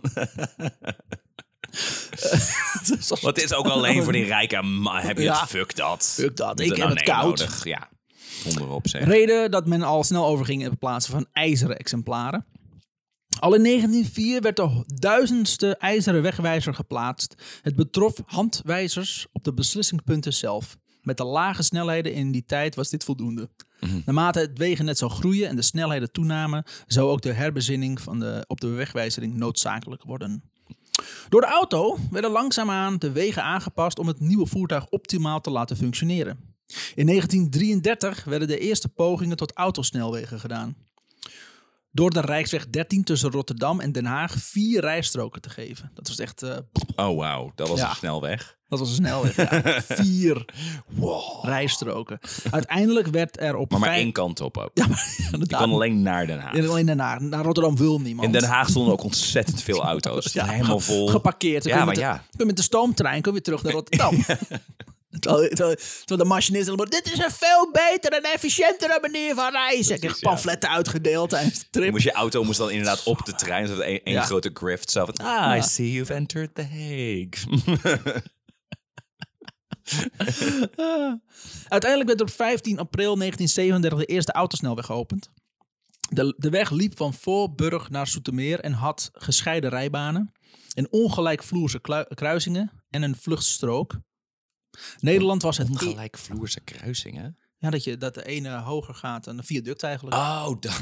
Dus als-
Want het is ook alleen voor die rijke ma- heb je
Ja.
het, fuck dat.
Fuck dat, ik
Is er
heb het koud.
nodig? Ja, onderop zeg.
Reden dat men al snel overging in het plaatsen van ijzeren exemplaren. Al in 1904 werd de ho- duizendste ijzeren wegwijzer geplaatst. Het betrof handwijzers op de beslissingspunten zelf. Met de lage snelheden in die tijd was dit voldoende. Naarmate het wegennet zou groeien en de snelheden toenamen, zou ook de herbezinning van de, op de wegwijzering noodzakelijk worden. Door de auto werden langzaamaan de wegen aangepast om het nieuwe voertuig optimaal te laten functioneren. In 1933 werden de eerste pogingen tot autosnelwegen gedaan. Door de Rijksweg 13 tussen Rotterdam en Den Haag vier rijstroken te geven. Dat was echt. eh,
Oh, wauw. Dat was
Ja.
een snelweg.
dat was een snelweg. ja. Vier rijstroken. Uiteindelijk werd er op.
Maar maar
vijf-
één kant op ook.
Ja, maar inderdaad.
Kan alleen naar Den Haag.
Ja, alleen Den Haag. Naar Rotterdam wil niemand.
In Den Haag stonden ook ontzettend veel auto's.
Ja,
helemaal vol.
Geparkeerd. Dan
Ja,
kun je
maar
met
ja.
De, kun je met de stoomtrein kun je weer terug naar Rotterdam. Terwijl, terwijl- terwijl de machinist helemaal... Dit is een veel betere en efficiëntere manier van reizen. Ik heb
Precies, ja.
pamfletten uitgedeeld tijdens de
Je
trip.
Moest je auto moest dan inderdaad op de trein. Zodat één één
Ja.
grote grift. Zo van, ah, I see you've entered The Hague.
Uiteindelijk werd op 15 april 1937 de eerste autosnelweg geopend. De, de weg liep van Voorburg naar Soetermeer en had gescheiden rijbanen, een ongelijkvloerse klui- kruisingen en een vluchtstrook. Nederland was het... e-
Ongelijkvloerse kruisingen.
Ja, dat, je, dat de ene hoger gaat dan de viaduct eigenlijk.
Oh, dan.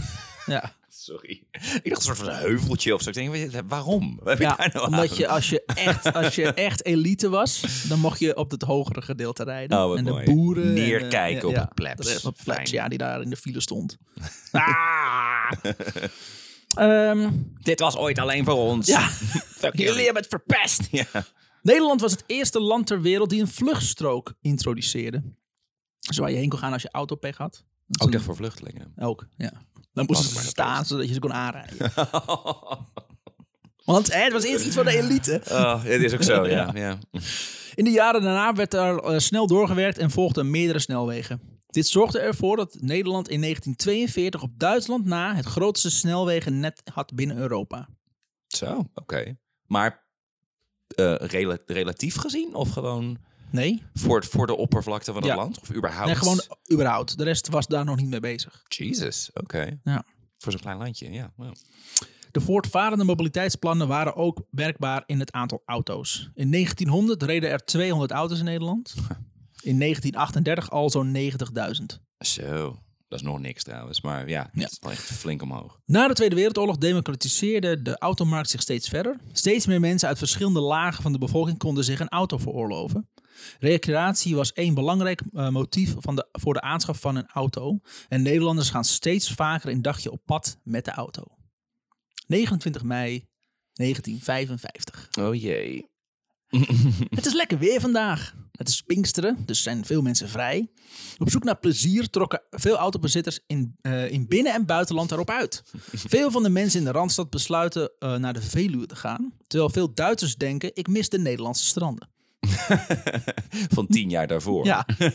Ja,
Sorry. Ik dacht een soort van een heuveltje of zo. Ik denk, weet je, waarom? Wat heb je
ja
daar nou aan?
omdat je als je, echt, als je echt elite was, dan mocht je op het hogere gedeelte rijden.
Oh, wat
en de
mooi.
boeren... en, eh,
Neerkijken op
ja,
het plebs.
de- Op het plebs,
Fijn.
ja, die daar in de file stond. ah! Ehm,
Dit was ooit alleen voor ons.
ja,
Fuck
jullie hebben het verpest.
Ja.
Nederland was het eerste land ter wereld die een vluchtstrook introduceerde. Dus waar je heen kon gaan als je autopech had. Dat is
Ook
een-
echt voor vluchtelingen.
Ook, ja. Dan moesten
maar
ze
dat
staan, zodat je ze kon aanrijden. Want hè, het was eerst iets voor de elite.
Oh, het is ook zo, ja. ja.
In de jaren daarna werd er eh, snel doorgewerkt en volgden meerdere snelwegen. Dit zorgde ervoor dat Nederland in 1942 op Duitsland na het grootste snelwegennet had binnen Europa.
Zo, oké. Maar eh, rela- relatief gezien of gewoon
Nee,
voor, het- voor de oppervlakte van het
Ja.
land? Of überhaupt?
nee gewoon überhaupt. De rest was daar nog niet mee bezig.
Jesus, oké.
Ja.
Voor zo'n klein landje, ja. Wow.
De voortvarende mobiliteitsplannen waren ook werkbaar in het aantal auto's. In 1900 reden er 200 auto's in Nederland. In 1938 al zo'n 90.000.
Zo, dat is nog niks trouwens. Maar ja,
Ja.
het is wel echt flink omhoog.
Na de Tweede Wereldoorlog democratiseerde de automarkt zich steeds verder. Steeds meer mensen uit verschillende lagen van de bevolking konden zich een auto veroorloven. Recreatie was één belangrijk eh, motief van de, voor de aanschaf van een auto. En Nederlanders gaan steeds vaker een dagje op pad met de auto. 29 mei 1955.
Oh jee.
Het is lekker weer vandaag. Het is Pinksteren, dus zijn veel mensen vrij. Op zoek naar plezier trokken veel autobezitters in, eh, in binnen- en buitenland daarop uit. Veel van de mensen in de Randstad besluiten eh, naar de Veluwe te gaan. Terwijl veel Duitsers denken, ik mis de Nederlandse stranden.
Van tien jaar daarvoor.
Ja,
Weet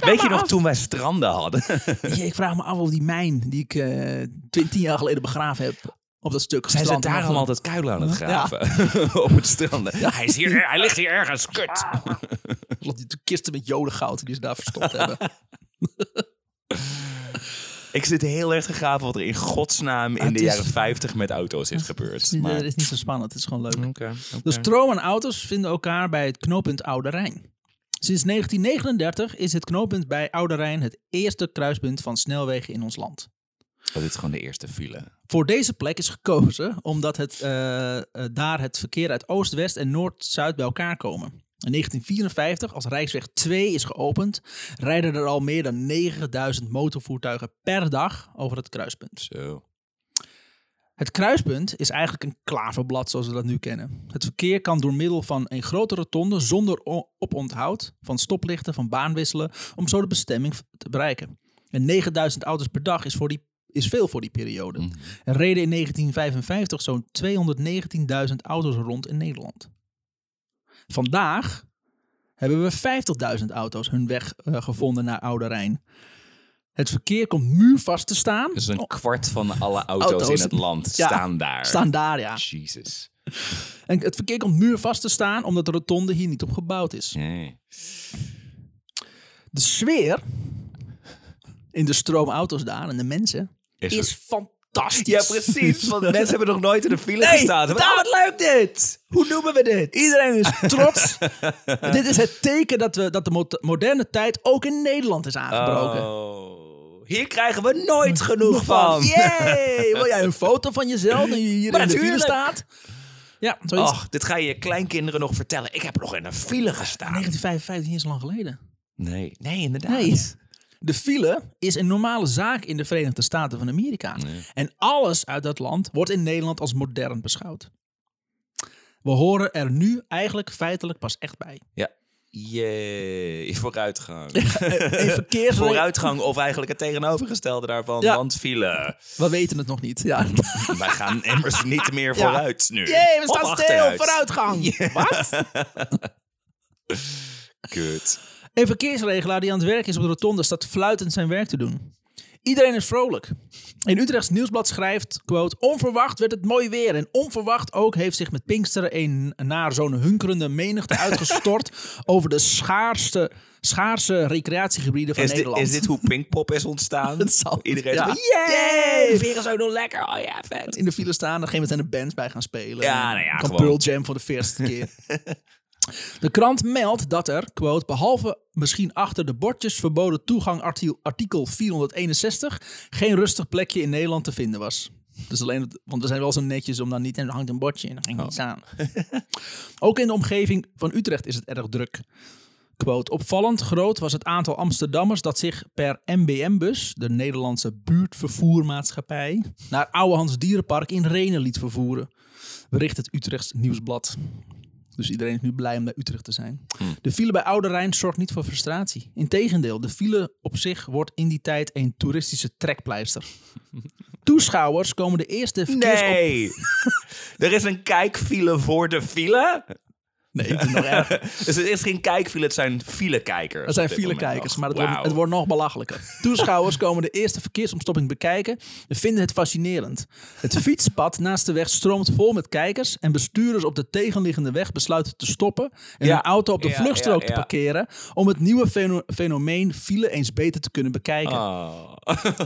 je
maar
nog
af.
toen wij stranden hadden?
Weet je, ik vraag me af of die mijn die ik eh, twi- tien jaar geleden begraven heb op dat stuk
Zijn ze
strand
daar
nog-
al altijd kuilen aan het graven? Op het stranden. Hij, is hier, hij ligt hier ergens. Kut.
nog die kisten met jodengoud die ze daar verstopt hebben.
Ik zit heel erg gegraven wat er in godsnaam in
het
de
is-
jaren 50 met auto's is gebeurd. Maar...
Dat is niet zo spannend, het is gewoon leuk.
Oké, oké.
De stroom en auto's vinden elkaar bij het knooppunt Oude Rijn. Sinds 1939 is het knooppunt bij Oude Rijn het eerste kruispunt van snelwegen in ons land.
Oh, dit is gewoon de eerste file.
Voor deze plek is gekozen omdat het, eh, eh, daar het verkeer uit Oost, West en Noord-Zuid bij elkaar komen. In 1954, als Rijksweg 2 is geopend, rijden er al meer dan 9000 motorvoertuigen per dag over het kruispunt.
Zo.
Het kruispunt is eigenlijk een klaverblad zoals we dat nu kennen. Het verkeer kan door middel van een grote rotonde zonder o- oponthoud van stoplichten, van baanwisselen, om zo de bestemming v- te bereiken. En 9000 auto's per dag is, voor die, is veel voor die periode.
Mhm.
Er reden in 1955 zo'n 219.000 auto's rond in Nederland. Vandaag hebben we 50.000 auto's hun weg eh, gevonden naar Oude Rijn. Het verkeer komt muurvast te staan. Oh,
Dus een kwart van alle auto's,
Auto's.
in het land
Ja,
staan daar.
Staan daar, ja.
Jesus.
En het verkeer komt muurvast te staan omdat de rotonde hier niet op gebouwd is.
Nee.
De sfeer in de stroomauto's daar en de mensen
Is
is,
er-
fantastisch.
Ja, precies. Want mensen hebben nog nooit in de file
Hey,
gestaan. Ze hebben,
daar-
"Oh, wat leuk dit!
Hoe noemen we dit? Iedereen is trots. dit is het teken dat, we, dat de mo- moderne tijd ook in Nederland is aangebroken.
Oh, hier krijgen we nooit genoeg van.
Yay! Wil jij een foto van jezelf nu je hier in de file
Natuurlijk.
staat? Ja, zoiets.
Och, dit ga je je kleinkinderen nog vertellen. Ik heb nog in een file gestaan.
1955, niet zo lang geleden.
Nee, nee, inderdaad.
Nee. De file is een normale zaak in de Verenigde Staten van Amerika. En alles uit dat land wordt in Nederland als modern beschouwd. We horen er nu eigenlijk feitelijk pas echt bij.
Ja. Jee, vooruitgang.
Een verkeersregel.
vooruitgang of eigenlijk het tegenovergestelde daarvan.
Ja.
Want file.
We weten het nog niet. Ja.
Wij gaan immers niet meer vooruit nu.
Jee, we
Of
staan stil.
achteruit.
Vooruitgang. Wat?
Kut.
Een verkeersregelaar die aan het werk is op de rotonde staat fluitend zijn werk te doen. Iedereen is vrolijk. In Utrechts Nieuwsblad schrijft, quote, onverwacht werd het mooi weer en onverwacht ook heeft zich met Pinksteren een naar zo'n hunkerende menigte uitgestort over de schaarste, schaarse recreatiegebieden van
Is dit,
Nederland.
is dit hoe Pinkpop is ontstaan?
Dat zal-
Iedereen
ja.
is van, yay, veren zo nog lekker. Oh ja, vet.
in de file staan. Op een gegeven moment zijn er bands bij gaan spelen.
Ja, nou ja,
kan
gewoon.
Pearl Jam voor de eerste keer. De krant meldt dat er, quote, behalve misschien achter de bordjes verboden toegang arti- artikel 461, geen rustig plekje in Nederland te vinden was. Dus alleen, het- want we zijn wel zo netjes om dan niet, en er hangt een bordje en dan ging
Oh.
niet staan. Ook in de omgeving van Utrecht is het erg druk. Quote, opvallend groot was het aantal Amsterdammers dat zich per MBM-bus, de Nederlandse buurtvervoermaatschappij, naar Ouwehands Dierenpark in Renen liet vervoeren. Bericht het Utrechts Nieuwsblad. Dus iedereen is nu blij om bij Utrecht te zijn. De file bij Oude Rijn zorgt niet voor frustratie. Integendeel, de file op zich wordt in die tijd een toeristische trekpleister. Toeschouwers komen de eerste verkeersop...
Nee. er is een kijkfile voor de file.
Nee, ik vind het nog erger.
Dus het is geen kijkfile, het zijn filekijkers.
Dat zijn filekijkers, maar het, wordt, het
wordt...
wordt nog belachelijker. Toeschouwers komen de eerste verkeersomstopping bekijken en vinden het fascinerend. Het fietspad naast de weg stroomt vol met kijkers en bestuurders op de tegenliggende weg besluiten te stoppen en
Ja.
hun auto op de
Ja,
vluchtstrook
ja,
te
ja.
parkeren om het nieuwe feno- fenomeen file eens beter te kunnen bekijken.
Oh.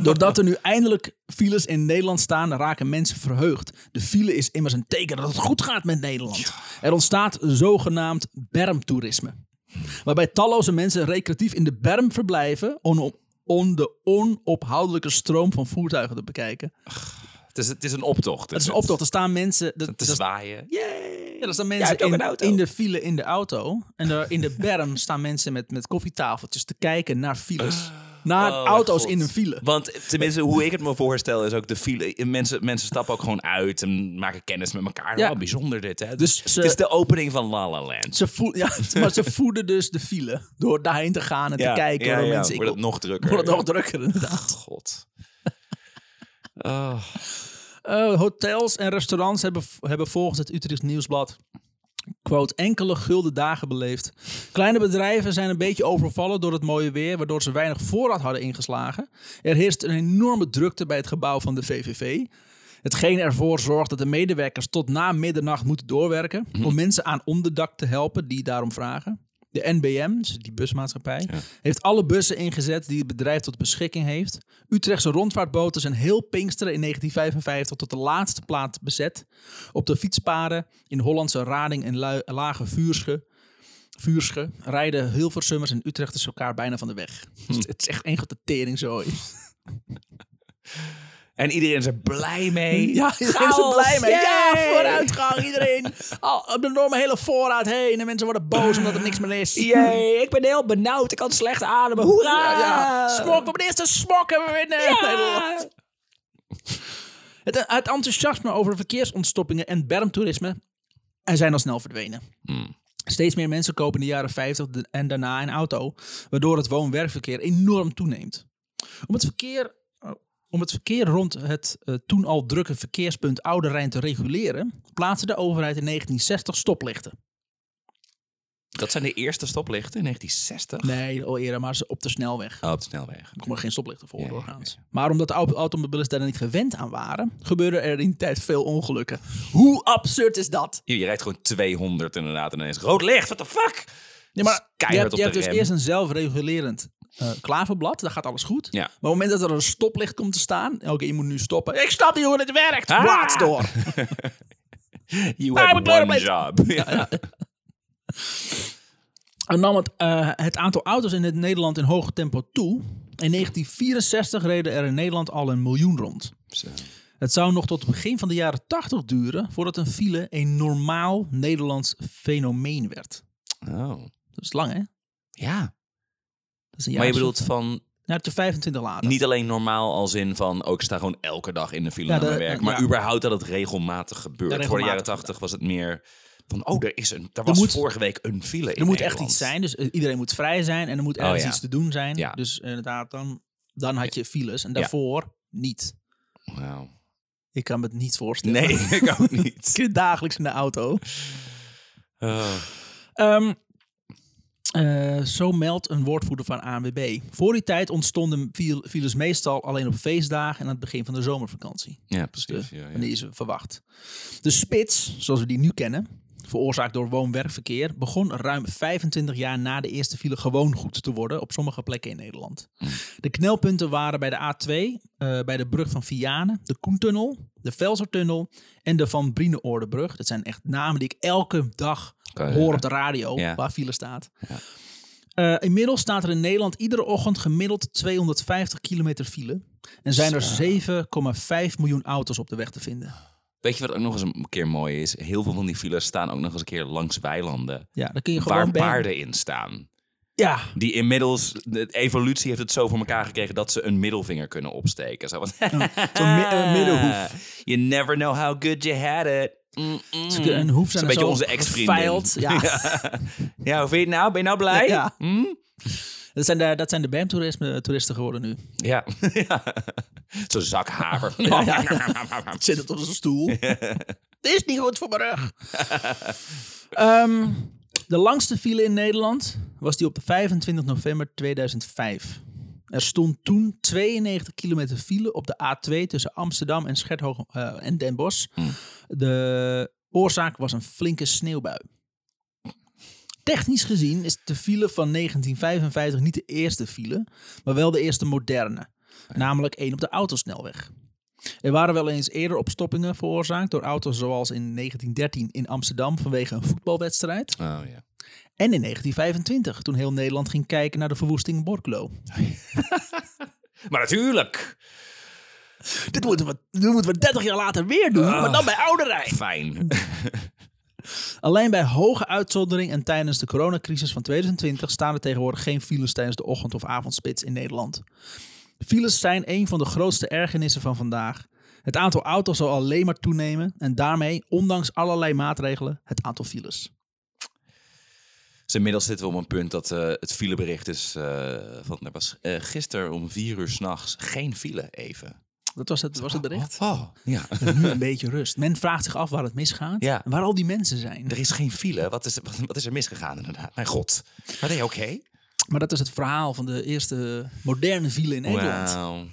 Doordat er nu eindelijk files in Nederland staan, raken mensen verheugd. De file is immers een teken dat het goed gaat met Nederland. Er ontstaat zogenaamd bermtoerisme. Waarbij talloze mensen recreatief in de berm verblijven om, om de onophoudelijke stroom van voertuigen te bekijken.
Het, is, het is een optocht.
Het is een optocht. Er staan mensen... Er,
Te
er-
zwaaien.
ja, er staan mensen
hebt ook
in,
een auto.
in de file in de auto. En er, in de berm staan mensen met, met koffietafeltjes te kijken naar files. Naar
Oh,
auto's
God.
in een file.
Want tenminste, hoe ik het me voorstel, is ook de file. Mensen, mensen stappen ook gewoon uit en maken kennis met elkaar.
Ja.
Ja. bijzonder dit, hè?
Dus
Dus
ze-
het is de opening van La La Land.
Ze voed, ja, maar ze voeden dus de file door daarheen te gaan en
Ja,
te kijken.
ja,
waar
ja,
mensen, ik
wordt het
wil-
nog drukker.
wordt het nog drukker. inderdaad.
Ach, god. Oh,
Eh, hotels en restaurants hebben, hebben volgens het Utrecht Nieuwsblad quote, enkele gulden dagen beleefd. Kleine bedrijven zijn een beetje overvallen door het mooie weer, waardoor ze weinig voorraad hadden ingeslagen. Er heerst een enorme drukte bij het gebouw van de VVV. Hetgeen ervoor zorgt dat de medewerkers tot na middernacht moeten doorwerken
Mhm.
om mensen aan onderdak te helpen die daarom vragen. De NBM, dus die busmaatschappij, heeft alle bussen ingezet die het bedrijf tot beschikking heeft. Utrechtse rondvaartboten zijn heel Pinksteren in 1955 tot de laatste plaats bezet. Op de fietspaden in Hollandse Rading en Lu- Lage Vuursche, Vuursche rijden Hilversummers en Utrechters elkaar bijna van de weg.
Hm.
Dus het is echt één grote teringzooi.
En iedereen is er blij mee.
Ja, iedereen is er
Chaos,
blij mee. Ja,
yay!
vooruitgang. Iedereen al door mijn hele voorraad heen. En mensen worden boos omdat er niks meer is.
Jee, ik ben heel benauwd. Ik kan slecht ademen. Hoera!
Ja. Smok, we hebben de eerste smok hebben we in eh,
Ah. Ja.
Nederland. Het, het enthousiasme over verkeersontstoppingen en bermtoerisme en zijn al snel verdwenen. Steeds meer mensen kopen in de jaren 50 de- en daarna een auto, waardoor het woon-werkverkeer enorm toeneemt. Om het verkeer, oh, om het verkeer rond het eh, toen al drukke verkeerspunt Oude Rijn te reguleren, plaatste de overheid in 1960 stoplichten.
Dat zijn de eerste stoplichten in 1960.
Nee, al eerder, maar ze op de snelweg.
Oh, op de snelweg.
Er komen geen stoplichten voor
Ja, ja,
doorgaans. Maar omdat de au- automobilisten daar niet gewend aan waren, gebeurden er in die tijd veel ongelukken. Hoe absurd is dat?
Je, je rijdt gewoon 200 inderdaad en ineens rood licht. What the fuck?
Ja, maar
Keihard
je hebt,
op
je
de
hebt dus
rem.
eerst een zelfregulerend eh, klaverblad, daar gaat alles goed.
Ja.
Maar op het moment dat er een stoplicht komt te staan, oké, je moet nu stoppen. Ik snap niet hoe het werkt.
Ah!
Blaad door.
You
Daar heb
have
ik
one job. Ja.
En nam het, eh, het aantal auto's in het Nederland in hoog tempo toe. In 1964 reden er in Nederland al een miljoen rond.
Zo.
Het zou nog tot het begin van de jaren 80 duren voordat een file een normaal Nederlands fenomeen werd.
Oh.
Dat is lang, hè? Dat
Ja.
is een jaar
Maar je
of zo.
bedoelt van
Nou, tot 25 later.
niet alleen normaal als in van... ook ik sta gewoon elke dag in de file
Ja,
naar mijn
dat-
werk.
ja.
Maar überhaupt dat het regelmatig gebeurt.
Ja,
Voor de jaren
regelmatig.
80 was het meer van... oh, er, is een, er was
moet-
vorige week een file in
er moet echt
Nederland.
iets zijn, dus eh, iedereen moet vrij zijn en er moet ergens
Oh, ja.
iets te doen zijn.
Ja.
Dus inderdaad, dan, dan had je files en daarvoor niet.
Wauw.
Ik kan me het niet voorstellen.
Nee, ik ook niet.
Ik zit dagelijks in de auto.
Oh.
Ehm, Eh, zo meldt een woordvoerder van ANWB. Voor die tijd ontstonden viel- files meestal alleen op feestdagen en aan het begin van de zomervakantie.
Ja,
Dus
precies.
de-
Ja, ja.
Wanneer je ze verwacht. De spits, zoals we die nu kennen, veroorzaakt door woon-werkverkeer, begon ruim 25 jaar na de eerste file gewoon goed te worden op sommige plekken in Nederland.
Mm.
De knelpunten waren bij de A2, eh, bij de brug van Vianen, de Koentunnel, de Velsertunnel en de Van Brineoordebrug. Dat zijn echt namen die ik elke dag
Kan je-
hoor op de radio
Ja.
waar file staat.
Ja.
Eh, inmiddels staat er in Nederland iedere ochtend gemiddeld 250 kilometer file. En zijn er 7,5 miljoen auto's op de weg te vinden.
Weet je wat ook nog eens een keer mooi is? Heel veel van die files staan ook nog eens een keer langs weilanden.
Ja, dan kun je gewoon
Waar
bij-
paarden in staan.
Ja,
Die inmiddels, de evolutie heeft het zo voor elkaar gekregen dat ze een middelvinger kunnen opsteken. Zo van,
zo'n mi-
Ah.
eh, middenhoef.
You never know how good you had it. Mm, mm.
Ze kunnen- Een hoef
Zo'n
zijn
beetje
zo
onze ex-vriendin.
geveild. Ja.
Ja, hoe vind je het nou? Ben je nou blij?
Ja.
Hm?
dat zijn de, dat zijn de BAM-toeristen geworden nu.
Ja. Zo'n zak haver.
ja, Zit het op zijn stoel. Dit is niet goed voor mijn rug. Ehm, de langste file in Nederland was die op de 25 november 2005. Er stond toen 92 kilometer file op de A2 tussen Amsterdam en, Scherthoog, eh, en Den Bosch. De oorzaak was een flinke sneeuwbui. Technisch gezien is de file van 1955 niet de eerste file, maar wel de eerste moderne. Namelijk één op de autosnelweg. Er waren wel eens eerder opstoppingen veroorzaakt door auto's zoals in 1913 in Amsterdam vanwege een voetbalwedstrijd.
Oh ja.
En in 1925 toen heel Nederland ging kijken naar de verwoesting in Borculo.
Maar natuurlijk.
Dit moeten we, dit moeten we 30 jaar later weer doen, maar dan bij ouderij.
Fijn.
Alleen bij hoge uitzondering en tijdens de coronacrisis van 2020 staan er tegenwoordig geen files tijdens de ochtend- of avondspits in Nederland. Files zijn een van de grootste ergernissen van vandaag. Het aantal auto's zal alleen maar toenemen en daarmee, ondanks allerlei maatregelen, het aantal files.
Dus inmiddels zitten we op een punt dat eh, het filebericht is. eh, van, er was eh, gisteren om vier uur s'nachts geen file even.
Dat was het, was het bericht.
Oh, ja.
Nu een beetje rust. Men vraagt zich af waar het misgaat
Ja.
en waar al die mensen zijn.
Er is geen file. Wat is, wat, wat is er misgegaan inderdaad? Mijn god. Maar ben je oké?
Maar dat is het verhaal van de eerste moderne file in Nederland.
Wauw.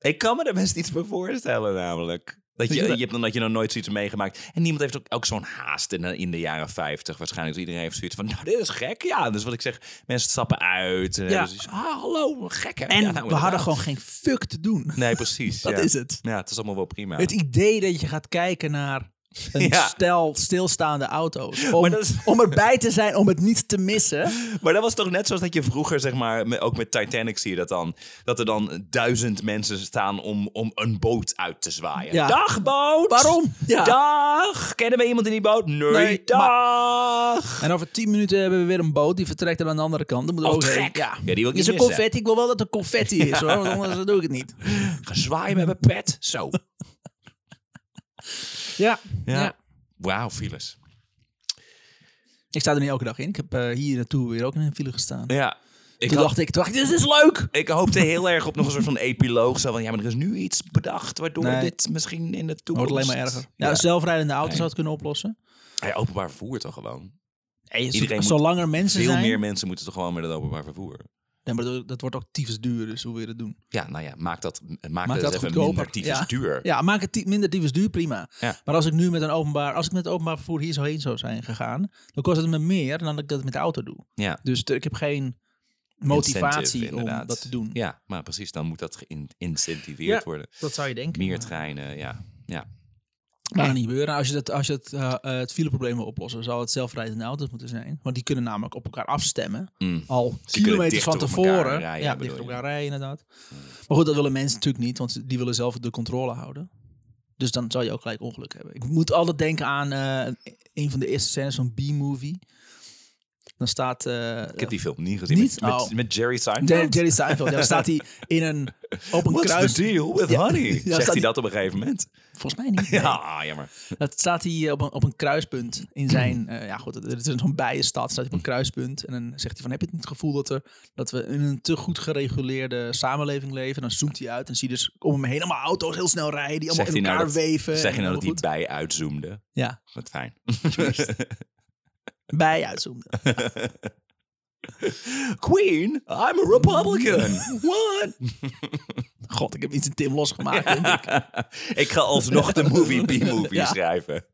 Ik kan me er best iets bij voorstellen namelijk.
Weet
Dat je,
je
je,
wat-
hebt nog, dat je nog nooit zoiets meegemaakt. En niemand heeft ook, ook zo'n haast in, de- in de jaren 50 waarschijnlijk. Dus Iedereen heeft zoiets van, nou dit is gek. Ja, dus wat ik zeg, mensen stappen uit. En
Ja.
hebben zoiets, ah, hallo, gek hè?
En
Ja, nou,
we hadden
inderdaad.
gewoon geen fuck te doen.
Nee, precies.
Dat
ja.
is het.
Ja, het is allemaal wel prima.
Het idee dat je gaat kijken naar een
Ja.
stel stilstaande auto's. Om,
Maar dat is-
om erbij te zijn, om het niet te missen.
Maar dat was toch net zoals dat je vroeger, zeg maar, me- ook met Titanic zie je dat dan. Dat er dan duizend mensen staan om, om een boot uit te zwaaien.
Ja.
Dag boot!
Waarom? Ja.
Dag! Kennen we iemand in die boot? Nee,
Nee,
dag!
En over 10 minuten hebben we weer een boot. Die vertrekt dan aan de andere kant. Dan moet
Oh,
ook heen.
gek.
Ja.
Ja, die wil ik
is
niet
een
missen.
confetti. Ik wil wel dat er confetti is hoor. Want anders doe ik het niet.
Ga zwaaien met mijn pet. Zo.
Ja. ja.
Wauw, files.
Ik sta er niet elke dag in. Ik heb eh, hier naartoe weer ook in een file gestaan.
Ja.
toen
Ik, had- Oh,
dacht ik, toen dacht ik, dit is leuk.
ik hoopte heel erg op nog een soort van epiloog. Zo van, ja, maar er is nu iets bedacht waardoor
Nee.
dit misschien in de
Wordt
toekomst...
alleen maar erger. Ja, dus-
Ja.
zelfrijdende auto's
Nee.
zou het kunnen oplossen.
Ja, openbaar vervoer toch gewoon.
Hey, zo-
Iedereen moet
zolang er mensen
Veel
zijn.
meer mensen moeten toch gewoon met het openbaar vervoer.
Nee, maar dat, dat wordt ook tyfus duur, dus hoe wil je dat doen?
Ja, nou ja, maak dat, maak
Maak
dat,
dat
dus even
goedkoper.
minder tyfus
Ja.
duur.
Ja, maak het ty- minder tyfus duur, prima.
Ja.
Maar als ik nu met een openbaar, als ik met het openbaar vervoer hier zo heen zou zijn gegaan, dan kost het me meer dan ik dat met de auto doe.
Ja.
Dus er- ik heb geen
Incentive,
motivatie om
inderdaad.
dat te doen.
Ja, maar precies, dan moet dat geïncentiveerd
Ja.
worden.
Dat zou je denken.
Meer treinen, ja. ja.
Maar niet gebeuren. Nou, Als je, dat, als je het, eh, eh, het fileprobleem wil oplossen, zou het zelfrijdende auto's moeten zijn. Want die kunnen namelijk op elkaar afstemmen.
Mm.
Al
kunnen
kilometers
dichter
van
op elkaar
tevoren.
rijden,
ja,
bedoel
dichter op
je. Mm.
elkaar rijden inderdaad. Maar goed, dat willen mensen natuurlijk niet, want die willen zelf de controle houden. Dus dan zou je ook gelijk ongeluk hebben. Ik moet altijd denken aan eh, een van de eerste scènes van B-movie. Dan staat... eh,
Ik heb die film niet gezien.
Niet?
Met,
Oh.
met, met Jerry Seinfeld.
Jerry, Jerry Seinfeld, ja, dan staat hij in een, op een
What's
kruis.
the deal with
Ja.
honey?
Ja,
Zegt
staat
hij
die-
dat op een gegeven moment?
Volgens mij niet.
Ja, ah, jammer.
Dat staat hij eh, op een, op een kruispunt in zijn... eh, ja goed, het is zo'n bijenstad. Staat hij op
Mm.
een kruispunt en dan zegt hij van... Heb je het niet het gevoel dat, er, dat we in een te goed gereguleerde samenleving leven? Dan zoomt hij uit en zie je dus om hem heen allemaal auto's heel snel rijden. Die allemaal
Zegt hij
in elkaar
nou dat,
weven.
zeg je
en
nou dat
allemaal
die bij uitzoomde?
goed. Ja,
Wat fijn.
bij uitzoomen.
Queen, I'm a Republican. What?
God, ik heb iets in Tim losgemaakt. denk ik.
ik ga alsnog de movie B-movie
Ja.
schrijven.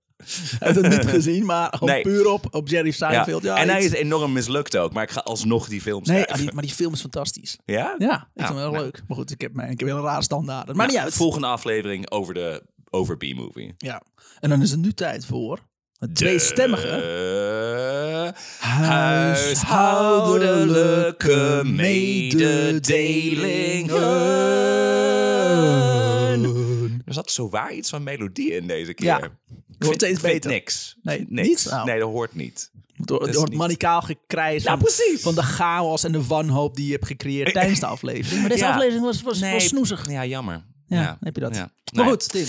Hij heeft het niet gezien, maar op-
Nee.
puur op, op Jerry
Ja.
Seinfeld. Ja,
en hij
iets-
is enorm mislukt ook, maar ik ga alsnog die film
Nee,
schrijven.
ah, die- maar die film is fantastisch.
ja?
Ja, ik
Ja,
vond het wel
nou.
leuk. Maar goed, ik heb, mijn, ik heb hele rare standaarden. Maar
Nou,
niet uit.
Volgende aflevering over de over B-movie.
Ja. En dan is het nu tijd voor het tweestemmige
stemmige
huishoudelijke
Huishoudelijke mededelingen.
mededelingen.
Er zat zowaar iets van melodie in deze keer.
Ja,
Ik
wordt
vind-
steeds
ik vind
beter.
niks.
Nee,
Ik vind niks.
niets? Nou.
Nee, dat hoort niet.
Door,
is
door het
niet-
manicaal gekrijs
Ja,
van,
precies.
van de chaos en de wanhoop die je hebt gecreëerd tijdens de aflevering. Maar deze
Ja.
aflevering was, was, was snoezig.
Ja, jammer.
Ja, dan heb je dat.
Ja.
Maar
Nou ja.
goed, Tim.
Eh,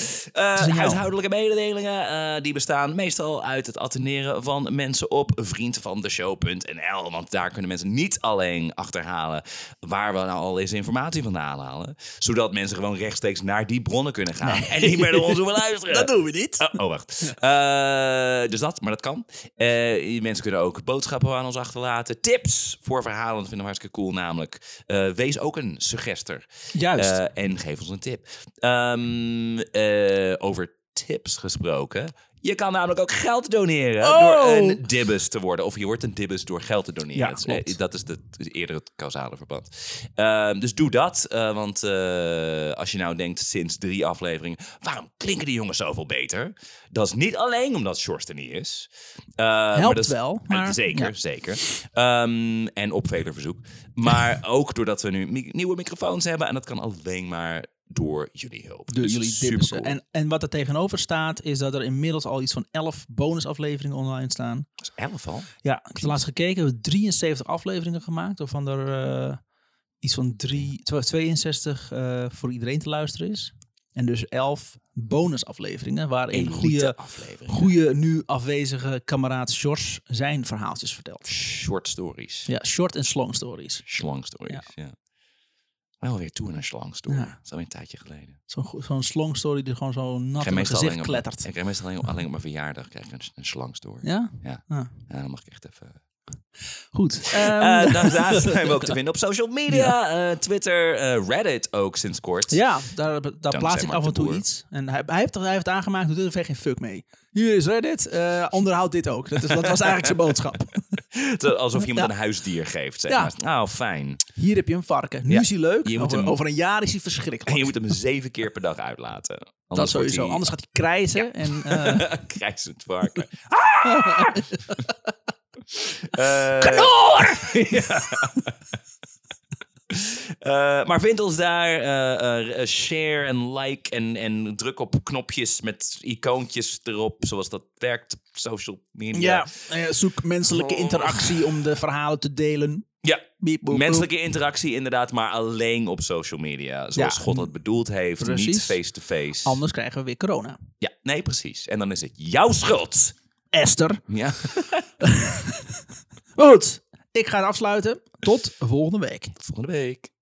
is een jou.
huishoudelijke mededelingen eh, die bestaan meestal uit het atteneren van mensen op vriendvandeshow.nl. Want daar kunnen mensen niet alleen achterhalen waar we nou al deze informatie vandaan halen. Zodat mensen gewoon rechtstreeks naar die bronnen kunnen gaan en niet meer naar ons hoeven luisteren.
Dat doen we niet.
Oh, oh, wacht. Eh, dus dat, maar dat kan. Eh, mensen kunnen ook boodschappen aan ons achterlaten. Tips voor verhalen, dat vinden we hartstikke cool namelijk. Eh, wees ook een suggester.
Juist.
Eh, en geef ons een tip. Ehm, eh, over tips gesproken. Je kan namelijk ook geld doneren
Oh!
door een dibbes te worden. Of je wordt een dibbes door geld te doneren.
Ja,
dat, is,
klopt.
eh, dat is de, is eerder het causale verband. Ehm, dus doe dat. eh, want eh, als je nou denkt sinds drie afleveringen... waarom klinken die jongens zoveel beter? Dat is niet alleen omdat Sjors er niet is. Eh, maar
Helpt
dat is-
wel, maar-
Zeker,
ja.
zeker. Ehm, en op vele verzoek. Maar ook doordat we nu mi- nieuwe microfoons hebben. En dat kan alleen maar door jullie hulp.
door
Dus
jullie
supercool.
dipsen. En, en wat er tegenover staat, is dat er inmiddels al iets van 11 bonusafleveringen online staan.
Dat is elf al.
Ja, ik heb het laatst gekeken. We hebben 73 afleveringen gemaakt. Waarvan er eh, iets van drie, twa- 62 eh, voor iedereen te luisteren is. En dus 11 bonusafleveringen. Waarin
Een
goede,
goede aflevering.
goede, nu afwezige kameraad Sjors zijn verhaaltjes vertelt.
Short stories.
Ja, short en slong stories.
Slang stories, ja. Wel weer toe naar slang story.
Ja.
Dat is alweer een tijdje geleden.
Zo'n go- zo'n slong story die gewoon zo nat
Ik
in mijn gezicht
alleen op,
klettert.
ik krijg meestal alleen op, alleen op mijn verjaardag krijg ik een, een slang story. Ja.
Ja?
dan mag ik echt even...
Goed. Ehm,
Eh, daar- daar zijn we ook te vinden op social media. eh, Twitter, eh, Reddit ook sinds kort.
Ja, daar, daar plaats ik
Mark
af en
de
toe
Boer.
iets. En hij, hij, heeft, hij heeft aangemaakt, doet er verder geen fuck mee. Hier is Reddit, eh, onderhoud dit ook. Dat, is, dat was eigenlijk zijn boodschap.
Zo- Alsof je iemand
Ja.
een huisdier geeft. Zeg
Ja.
maar. Nou, fijn.
Hier heb je een varken. Nu
Ja,
is hij leuk,
je moet
over,
hem-
over een jaar is hij
En
verschrikkelijk.
je moet hem zeven keer per dag uitlaten.
dat
Anders wordt
sowieso,
hij-
anders gaat hij krijzen. En, eh,
Krijsend varken. Ah! Ja. Eh, maar vind ons daar. eh, eh, share en like en, en druk op knopjes met icoontjes erop. Zoals dat werkt op social media.
ja, eh, zoek
Oh.
menselijke interactie om de verhalen te delen.
Ja,
Biep, boep, boep.
Menselijke interactie inderdaad, maar alleen op social media. Zoals
Ja.
God het bedoeld heeft,
Precies.
niet face-to-face.
Anders krijgen we weer corona.
Ja, nee, precies. En dan is het jouw schuld.
Esther.
Ja.
Goed, ik ga het afsluiten. Tot volgende week.
Volgende week.